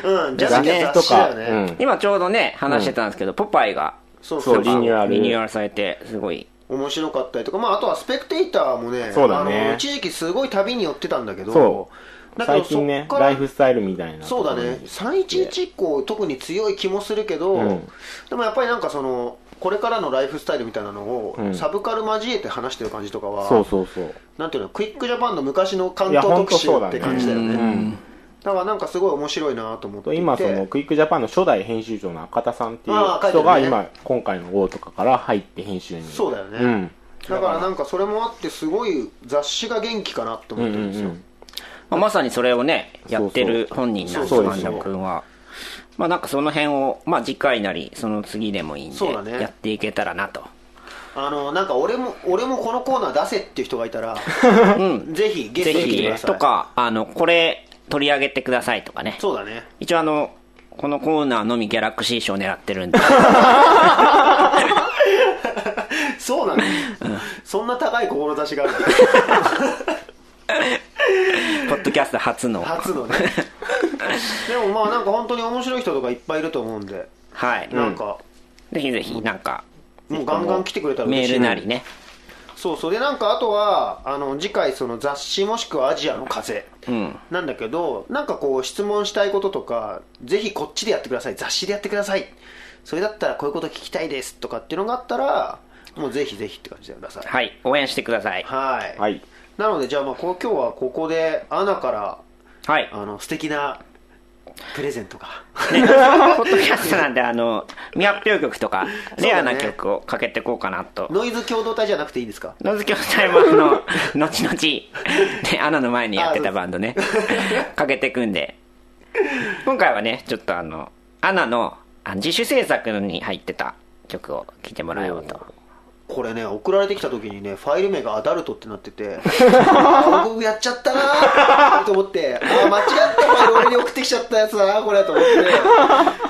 Speaker 2: うんじゃあ次回は雑誌だよね、
Speaker 3: うん
Speaker 1: 今ちょうどね話してたんですけど、ポパイが
Speaker 2: そう
Speaker 3: そう
Speaker 2: そう
Speaker 3: リニューアル
Speaker 1: リニューアルされてすごい
Speaker 2: 面白かったりとか、まあ、あとはスペクテーターもね
Speaker 3: そうだね
Speaker 2: あの一時期すごい旅に寄ってたんだけど
Speaker 3: そ
Speaker 2: だけど
Speaker 3: 最近ね
Speaker 2: そっから
Speaker 3: ライフスタイルみたいな
Speaker 2: そうだね311以降特に強い気もするけど、
Speaker 3: うん
Speaker 2: でもやっぱりなんかそのこれからのライフスタイルみたいなのを、
Speaker 3: うん
Speaker 2: サブカル交えて話してる感じとかは
Speaker 3: そうそうそう
Speaker 2: なんていうのクイックジャパンの昔の関
Speaker 3: いや
Speaker 2: 東
Speaker 3: 本
Speaker 2: 特
Speaker 3: 当
Speaker 2: 集
Speaker 3: そうだ
Speaker 2: っ
Speaker 3: ね
Speaker 2: て感じだよねだ
Speaker 3: うん
Speaker 2: からなんかすごい面白いなと思っていて
Speaker 3: 今そのクイックジャパンの初代編集長の赤田さんっていう
Speaker 2: ああ書いて
Speaker 3: 人
Speaker 2: るね
Speaker 3: が今今回の号とかから入って編集に
Speaker 2: そうだよね、
Speaker 3: うん
Speaker 2: だからなんかそれもあってすごい雑誌が元気かなって
Speaker 3: う
Speaker 2: 思っ
Speaker 3: ん
Speaker 2: て
Speaker 3: う
Speaker 2: るん
Speaker 3: ん
Speaker 2: で
Speaker 3: う
Speaker 2: すよ、
Speaker 3: ん
Speaker 1: まあ、まさにそれをね、
Speaker 3: そうそう
Speaker 1: やってる本人なんです、
Speaker 3: そうそう
Speaker 1: 神田君は。まあなんかその辺を、まあ次回なり、その次でもいいんで
Speaker 2: そうだ、ね
Speaker 1: やっていけたらなと。
Speaker 2: あのなんか俺も俺もこのコーナー出せっていう人がいたら
Speaker 1: うん。
Speaker 2: [LAUGHS] ぜひゲス
Speaker 1: ぜ
Speaker 2: トに来て
Speaker 1: ひ
Speaker 2: くだ、さい
Speaker 1: とか、あの、これ取り上げてくださいとかね。
Speaker 2: そうだね
Speaker 1: 一応あの、このコーナーのみギャラクシー賞狙ってるん [LAUGHS] で、
Speaker 2: そうなの、そんな高い志がある
Speaker 3: [LAUGHS]
Speaker 1: ポッドキャスト初の。
Speaker 2: 初のねでもまあなんか本当に面白い人とかいっぱいいると思うんで、
Speaker 1: はい。
Speaker 2: なんか
Speaker 1: ぜひぜひ、なんか、
Speaker 2: もうガンガン来てくれたら
Speaker 1: メー
Speaker 2: 嬉しい
Speaker 1: ルなりね。
Speaker 2: そうそうでなんかあとはあの次回その雑誌もしくはアジアの風
Speaker 1: うん。
Speaker 2: なんだけどなんかこう質問したいこととかぜひこっちでやってください雑誌でやってくださいそれだったらこういうこと聞きたいですとかっていうのがあったらもうぜひぜひって感じでください
Speaker 1: はい。応援してください。
Speaker 2: はい
Speaker 3: はい
Speaker 2: なのでじゃあまあこう今日はここでアナから
Speaker 1: はい。
Speaker 2: あの素敵なプレゼントが
Speaker 1: ね、ポッドキャストなんで、あの、未発表曲とか、レアな曲をかけてこうかなと。
Speaker 2: ノイズ共同体じゃなくていいですか
Speaker 1: 野月さんもあの、後々、ね、アナの前にやってたバンドね、かけてくんで、今回はね、ちょっとあの、アナのあ自主制作に入ってた曲を聴いてもらおうと。
Speaker 2: これね送られてきた時にねファイル名がアダルトってなって [LAUGHS] てあ僕やっちゃったなーと思ってあー間違ったファイル俺に送ってきちゃったやつだなこれと思って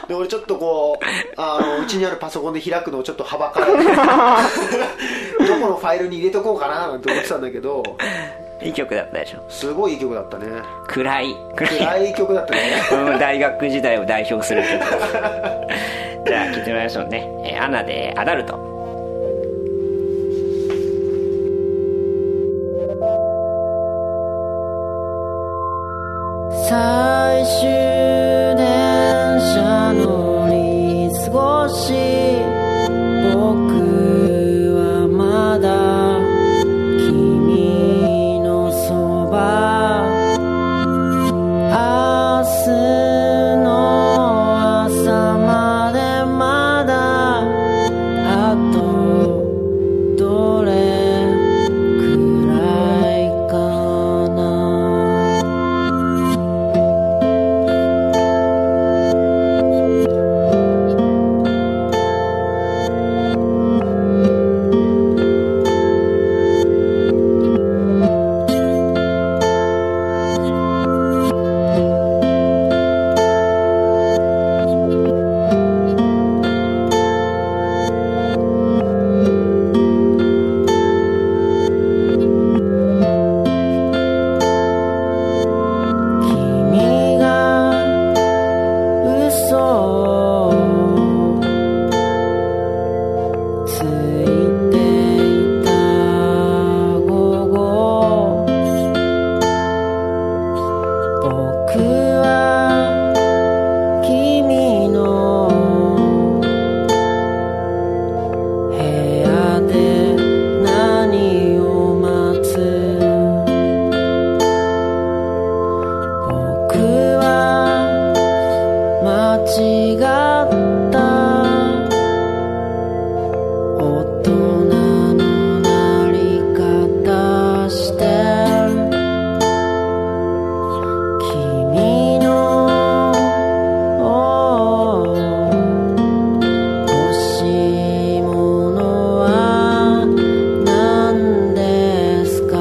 Speaker 2: で俺ちょっとこうあのうちにあるパソコンで開くのをちょっとはば [LAUGHS] かられてどこのファイルに入れとこうかななんて思ってたんだけど
Speaker 1: いい曲だったでしょ。
Speaker 2: すごいいい曲だったね
Speaker 1: 暗い、暗い。
Speaker 2: 暗い曲だったね
Speaker 1: うん大学時代を代表する [LAUGHS] 曲です。じゃあ聴いてもらいましょうね。えーアナでアダルト。
Speaker 6: 最終電車乗り少し僕はまだ君のそば明日の朝までまだあとどれくらいかな君が嘘をついていた午後僕は君の部屋で何を待つ僕は間違った大人のなり方して君の欲しいものは何ですか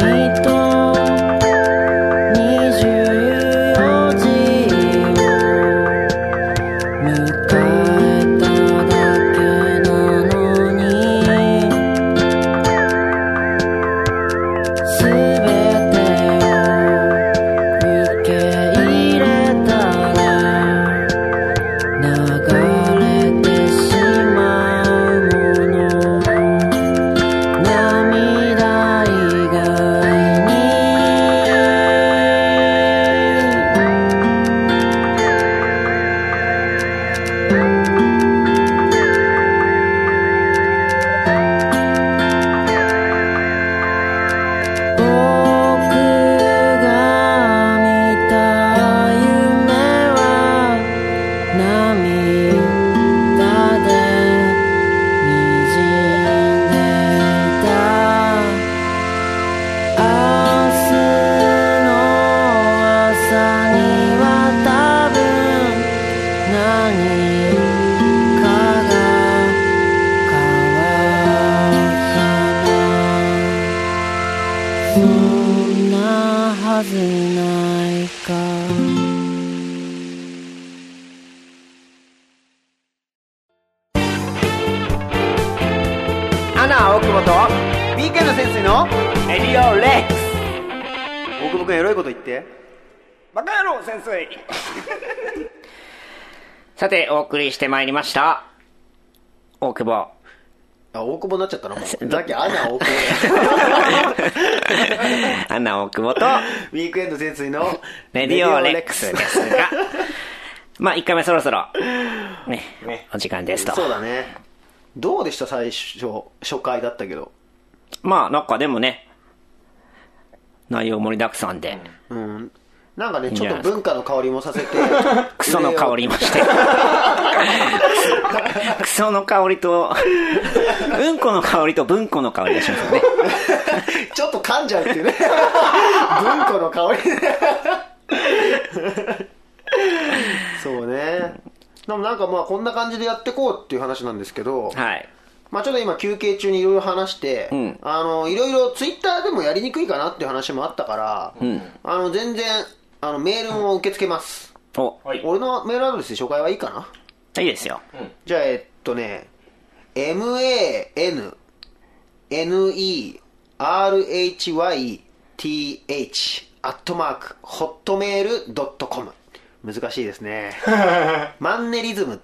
Speaker 6: 君と24時を迎えただけなのに全てを受け入れたら流れてしまうもの「涙以外に僕が見た夢は涙で」「にじんでいた」「明日の朝には多分何かが変わるかな」「そんなはずないか」
Speaker 2: アナ青久保と BK の先生の
Speaker 1: エリオレックス
Speaker 2: 大久保君エロいこと言って
Speaker 1: バカ野郎先生 [LAUGHS] さてお送りしてまいりました大久保
Speaker 2: あ大久保になっちゃ [LAUGHS] ったなもうだっけアナ大久
Speaker 1: アナ大久保と
Speaker 2: 保 [LAUGHS] ウィークエンド潜水の
Speaker 1: レディオレックスですが [LAUGHS] まあ1回目そろそろね
Speaker 3: ね
Speaker 1: お時間ですと
Speaker 2: そうだねどうでした最初初回だったけど
Speaker 1: まあなんかでもね内容盛りだくさんで、
Speaker 2: うんなんかね
Speaker 1: ん
Speaker 2: ち
Speaker 1: じゃ
Speaker 2: ょ
Speaker 1: な
Speaker 2: っ
Speaker 1: い
Speaker 2: と
Speaker 1: ですか
Speaker 2: 文化の香りもさせて
Speaker 1: [LAUGHS] クソの香りもして [LAUGHS] クソの香りとうんこの香りと文庫の香りがしますよね
Speaker 2: [LAUGHS] ちょっと噛んじゃうっていう
Speaker 1: [LAUGHS]
Speaker 2: ね文庫の香りそうねでもなんかまあこんな感じでやってこうっていう話なんですけど、
Speaker 1: はい
Speaker 2: まあ、ちょっと今休憩中にいろいろ話して、
Speaker 1: ん
Speaker 2: あのいろいろツイッターでもやりにくいかなっていう話もあったから、あの全然あのメールも受け付けます、
Speaker 1: お、
Speaker 3: はい。
Speaker 2: 俺のメールアドレスで紹介はいいかない
Speaker 1: いですよ。
Speaker 2: じゃあ、えっとね、man,nerhyth アットマーク、ホットメールドットコム。難しいで
Speaker 1: [LAUGHS]
Speaker 2: すね。マンネリズム。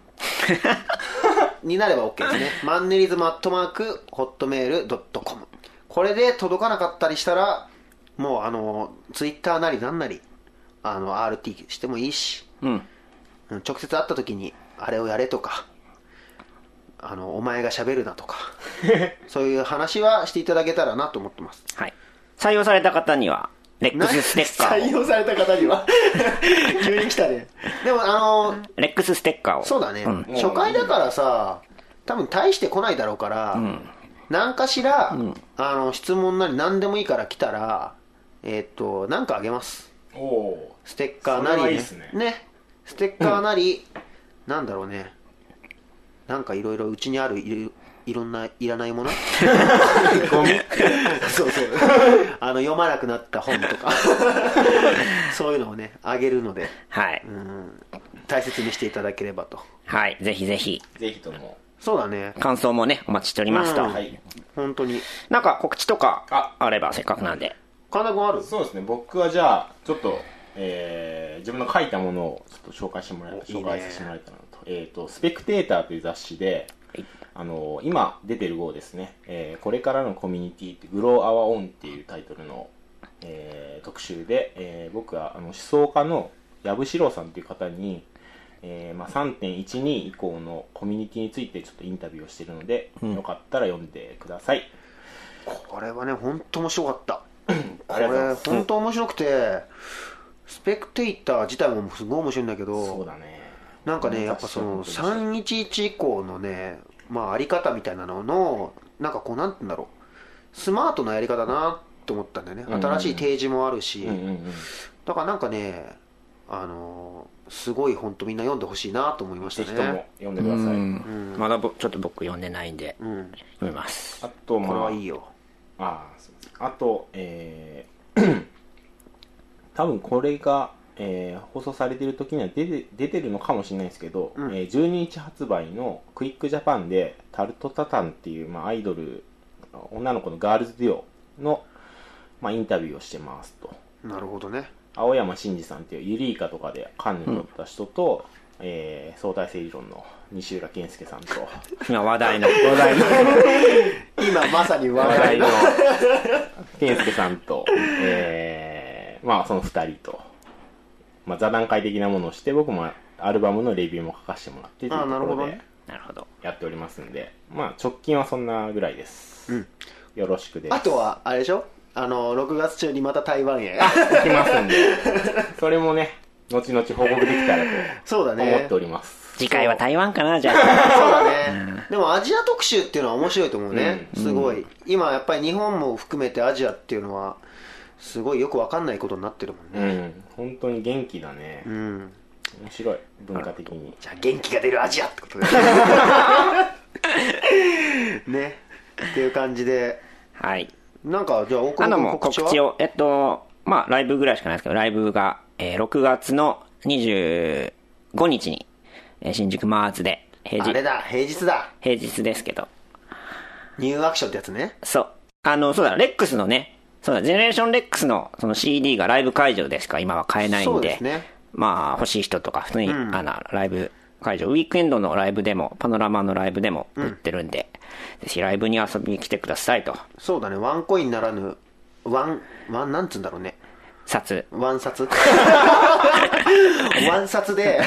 Speaker 2: になれば OK ですね。マンネリズムアットマーク、ホットメールドットコム。これで届かなかったりしたら、もうあの、ツイッターなりなんなり、あの、RT してもいいし、
Speaker 1: うん。
Speaker 2: うん直接会った時にあれをやれとかあのお前が喋るなとか [LAUGHS] そういう話はしていただけたらなと思ってます
Speaker 1: はい。採用された方には、レックスステッカ
Speaker 2: 採
Speaker 1: ーを。
Speaker 2: 用された方には [LAUGHS] 急に来たねでもあの
Speaker 1: レックスステッカーを。
Speaker 2: そうだね、
Speaker 1: ん
Speaker 2: 初回だからさ多分大して来ないだろうから、何かしら、あの質問なり何でもいいから来たらえっと何かあげます
Speaker 3: おお
Speaker 2: ステッカーなり、
Speaker 3: それはいいっすね
Speaker 2: ステッカーなり、なんだろうね。なんかいろいろうちにあるいろいろんないらないもの [LAUGHS] そうそう。あの読まなくなった本とか、そういうのをね、あげるので、
Speaker 1: はい。
Speaker 2: うん、大切にしていただければと。
Speaker 1: はい。ぜひぜひ、
Speaker 3: ー。ぜひとも。
Speaker 2: そうだね。
Speaker 1: 感想もね、お待ちしておりますと。
Speaker 2: うん
Speaker 3: はい。
Speaker 2: 本当に。
Speaker 1: なんか告知とか
Speaker 3: あ
Speaker 1: あればせっかくなんで。
Speaker 2: 神田君ある
Speaker 3: そうですね、僕はじゃあ、ちょっと、えー自分の書いたものをちょっと紹介してもらえ
Speaker 2: お
Speaker 3: 紹介させてもらえたらなと。えっ、と、スペクテーターという雑誌で、あの今出てる号ですね、えーこれからのコミュニティって、グローアワーオンっていうタイトルの、えー特集で、えー僕はあの思想家の藪四郎さんという方に、えーまあ、3.12以降のコミュニティについてちょっとインタビューをしているので、よかったら読んでください。
Speaker 2: これはね、本当面白かった。こ
Speaker 3: ありがとうござい
Speaker 2: れ、
Speaker 3: ます
Speaker 2: 本当面白くて、スペクテイター自体もすごい面白いんだけど、
Speaker 3: そうだね。
Speaker 2: なんかね、やっぱその
Speaker 3: 雑誌は本当に
Speaker 2: 311以降のね、まあ、あり方みたいなのの、なんかこう、なんて言うんだろう、スマートなやり方だなと思ったんだよね、
Speaker 3: んうん
Speaker 2: 新しい提示もあるし、
Speaker 3: うんうんうん
Speaker 2: だからなんかね、あのーすごい本当、みんな読んでほしいなと思いまし
Speaker 3: ぜ
Speaker 2: た
Speaker 3: ひとも
Speaker 2: ね。
Speaker 3: 読んでください。
Speaker 1: うん。まだぼちょっと僕読んでないんで、
Speaker 2: うん、
Speaker 1: 読みます。
Speaker 3: あと、まあ、
Speaker 2: これはいいよ。
Speaker 3: ああそうですあと、えー [CLEARS THROAT] 多分これが、えー放送されてる時には出て出てるのかもしれないですけど、
Speaker 2: うん
Speaker 3: えー12日発売のクイックジャパンで、タルトタタンっていう、まあ、アイドル、女の子のガールズデュオの、まあ、インタビューをしてますと。
Speaker 2: なるほどね。
Speaker 3: 青山真司さんっていうユリイカとかでカンヌに乗った人と、えー相対性理論の西浦健介さんと
Speaker 1: 今話題の。
Speaker 3: 話題の
Speaker 2: 今まさに話
Speaker 3: 話
Speaker 2: 題
Speaker 3: 題
Speaker 2: の
Speaker 3: の健介さん
Speaker 2: [LAUGHS]
Speaker 3: と、えーまあその2人と、まあ、座談会的なものをして僕もアルバムのレビューも書かせてもらってと
Speaker 2: あ
Speaker 3: いうと
Speaker 2: ーなる
Speaker 3: こ
Speaker 2: ほど
Speaker 3: ろ
Speaker 2: ね
Speaker 3: で
Speaker 1: なるほど。
Speaker 3: やっておりますんでまあ直近はそんなぐらいです、
Speaker 2: うん
Speaker 3: よろしくです
Speaker 2: あとは、あれでしょあの、6月中にまた台湾へ。
Speaker 3: 行きます
Speaker 2: [LAUGHS]
Speaker 3: んでそれもね後々報告できたら
Speaker 2: そうだ
Speaker 3: と
Speaker 2: [LAUGHS] ね。
Speaker 3: 思っております、
Speaker 1: 次回は台湾かな、じゃあ。
Speaker 3: [LAUGHS]
Speaker 2: そうだね、でもアジア特集っていうのは面白いと思うね、すごい、今やっぱり日本も含めてアジアっていうのは、すごいよく分かんないことになってるもんね、
Speaker 3: うん本当に元気だね、
Speaker 2: うん、
Speaker 3: 面白い文化的に
Speaker 2: じゃあ、元気が出るアジアってこと
Speaker 1: [LAUGHS]
Speaker 2: で、ね、っていう感じで、
Speaker 1: はい。
Speaker 2: なんか、じゃあ、大
Speaker 1: あ
Speaker 2: 久
Speaker 1: の
Speaker 2: 保君
Speaker 1: もう
Speaker 2: 告知
Speaker 1: 告
Speaker 2: は
Speaker 1: 知を、えっと、まあ、ライブぐらいしかないですけど、ライブが、えー6月の25日に、えー新宿マーズで、平
Speaker 2: あれ
Speaker 1: 日、
Speaker 2: だ、平日だ、
Speaker 1: 平日ですけど、
Speaker 2: ニューアクションってやつね、
Speaker 1: そう。あの、そうだ、レックスのね、そうだ、ジェネレーションレックスのその CD がライブ会場でしか今は買えないん
Speaker 2: そう
Speaker 1: で、
Speaker 2: ですね、
Speaker 1: まあ、欲しい人とか、普通に、あの、ライブ会場、ウィークエンドのライブでも、パノラマのライブでも売ってるんで、ぜひライブに遊びに来てくださいと、
Speaker 2: そうだね、ワンコインならぬ、ワン、ワンなんつうんだろうね。
Speaker 1: 札。
Speaker 2: ワ
Speaker 1: [LAUGHS]
Speaker 2: ン札ワン札で、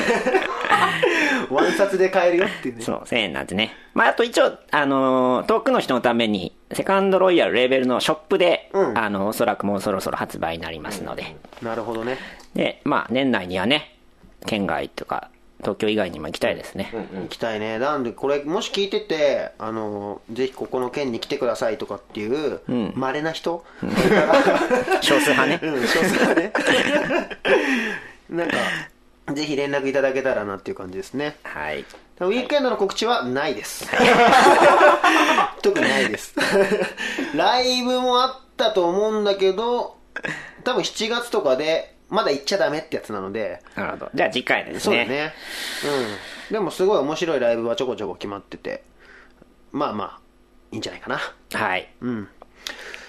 Speaker 2: ワン札で買えるよっていうね。
Speaker 1: そう、1000円なんてね。まあ、あと一応、あのー遠くの人のために、セカンドロイヤルレーベルのショップで、
Speaker 2: うん
Speaker 1: あの、おそらくもうそろそろ発売になりますので。
Speaker 2: なるほどね。
Speaker 1: で、まあ、年内にはね、県外とか、東京以外にも行きたいですね。
Speaker 2: 行きたいね。なんで、これ、もし聞いてて、あの、ぜひここの県に来てくださいとかっていう、稀な人、
Speaker 1: 少数
Speaker 2: [LAUGHS]
Speaker 1: 派
Speaker 2: う
Speaker 1: ね。
Speaker 2: ん、少数はね。なんか、ぜひ連絡いただけたらなっていう感じですね。
Speaker 1: はい。
Speaker 2: ウィークエンドの告知はない [LAUGHS] です。特にない [LAUGHS] です。ライブもあったと思うんだけど、多分7月とかで、まだ行っちゃダメってやつなので、
Speaker 1: なるほど。じゃあ次回です
Speaker 2: そうだ
Speaker 1: ね。
Speaker 2: ねうん、でもすごい面白いライブはちょこちょこ決まっててまあまあいいんじゃないかな
Speaker 1: はい。
Speaker 2: うん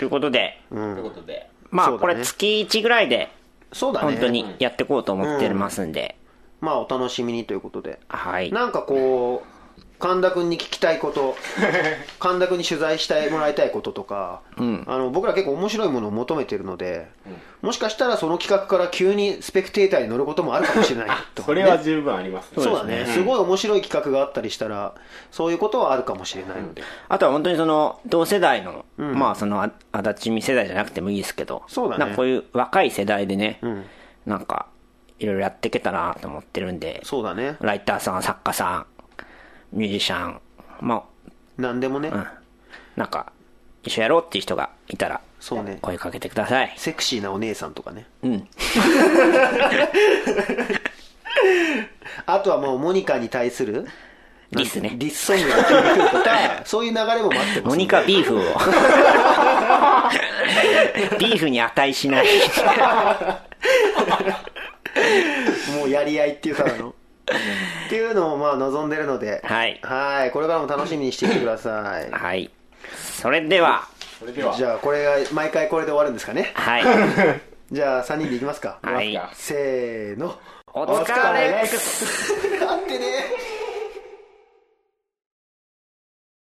Speaker 1: ということで、
Speaker 3: ということで、
Speaker 1: まあ、
Speaker 2: そうだ
Speaker 1: こ
Speaker 2: ね
Speaker 1: れ月1ぐらいで、
Speaker 2: そうだね
Speaker 1: 本当にやっていこうと思ってますんで、
Speaker 2: まあお楽しみにということで
Speaker 1: はい。
Speaker 2: なんかこう神田君に聞きたいこと神田君に取材してもらいたいこととか、あの僕ら結構面白いものを求めてるので、もしかしたらその企画から急にスペクテーターに乗ることもあるかもしれないと
Speaker 3: [LAUGHS] それは十分ありますね。
Speaker 2: そうだね、すごい面白い企画があったりしたらそういうことはあるかもしれないので、
Speaker 1: あとは本当にその、同世代の、まあその、あ足立み世代じゃなくてもいいですけど、
Speaker 2: そうだね
Speaker 1: なんかこういう若い世代でね、なんか、いろいろやっていけたらなと思ってるんで、
Speaker 2: そうだね
Speaker 1: ライターさん、作家さん、ミュージシャン、ま
Speaker 2: 何でもね、
Speaker 1: あ、うん。なんか、一緒やろうっていう人がいたら、
Speaker 2: そうね
Speaker 1: 声かけてください。
Speaker 2: セクシーなお姉さんとかね
Speaker 1: うん。
Speaker 2: あとはもうモニカに対する
Speaker 1: リスね。
Speaker 2: ディスソングが聞いてくる
Speaker 1: [LAUGHS]
Speaker 2: とかそういう流れも待ってます
Speaker 1: モニカビーフ
Speaker 2: [LAUGHS]
Speaker 1: を。ビーフに値しない。
Speaker 2: もうやり合い
Speaker 1: [LAUGHS]
Speaker 2: っていうかあのっていうのをまあ望んでるのでは
Speaker 1: はい。
Speaker 2: いこれからも楽しみにしていてください
Speaker 1: はい。それでは、
Speaker 3: それでは、
Speaker 2: じゃあこれが毎回これで終わるんですかね
Speaker 1: はい。
Speaker 2: じゃあ3人でいきますか
Speaker 1: はい。
Speaker 2: せーの [LAUGHS]
Speaker 1: お疲れっす
Speaker 2: あってね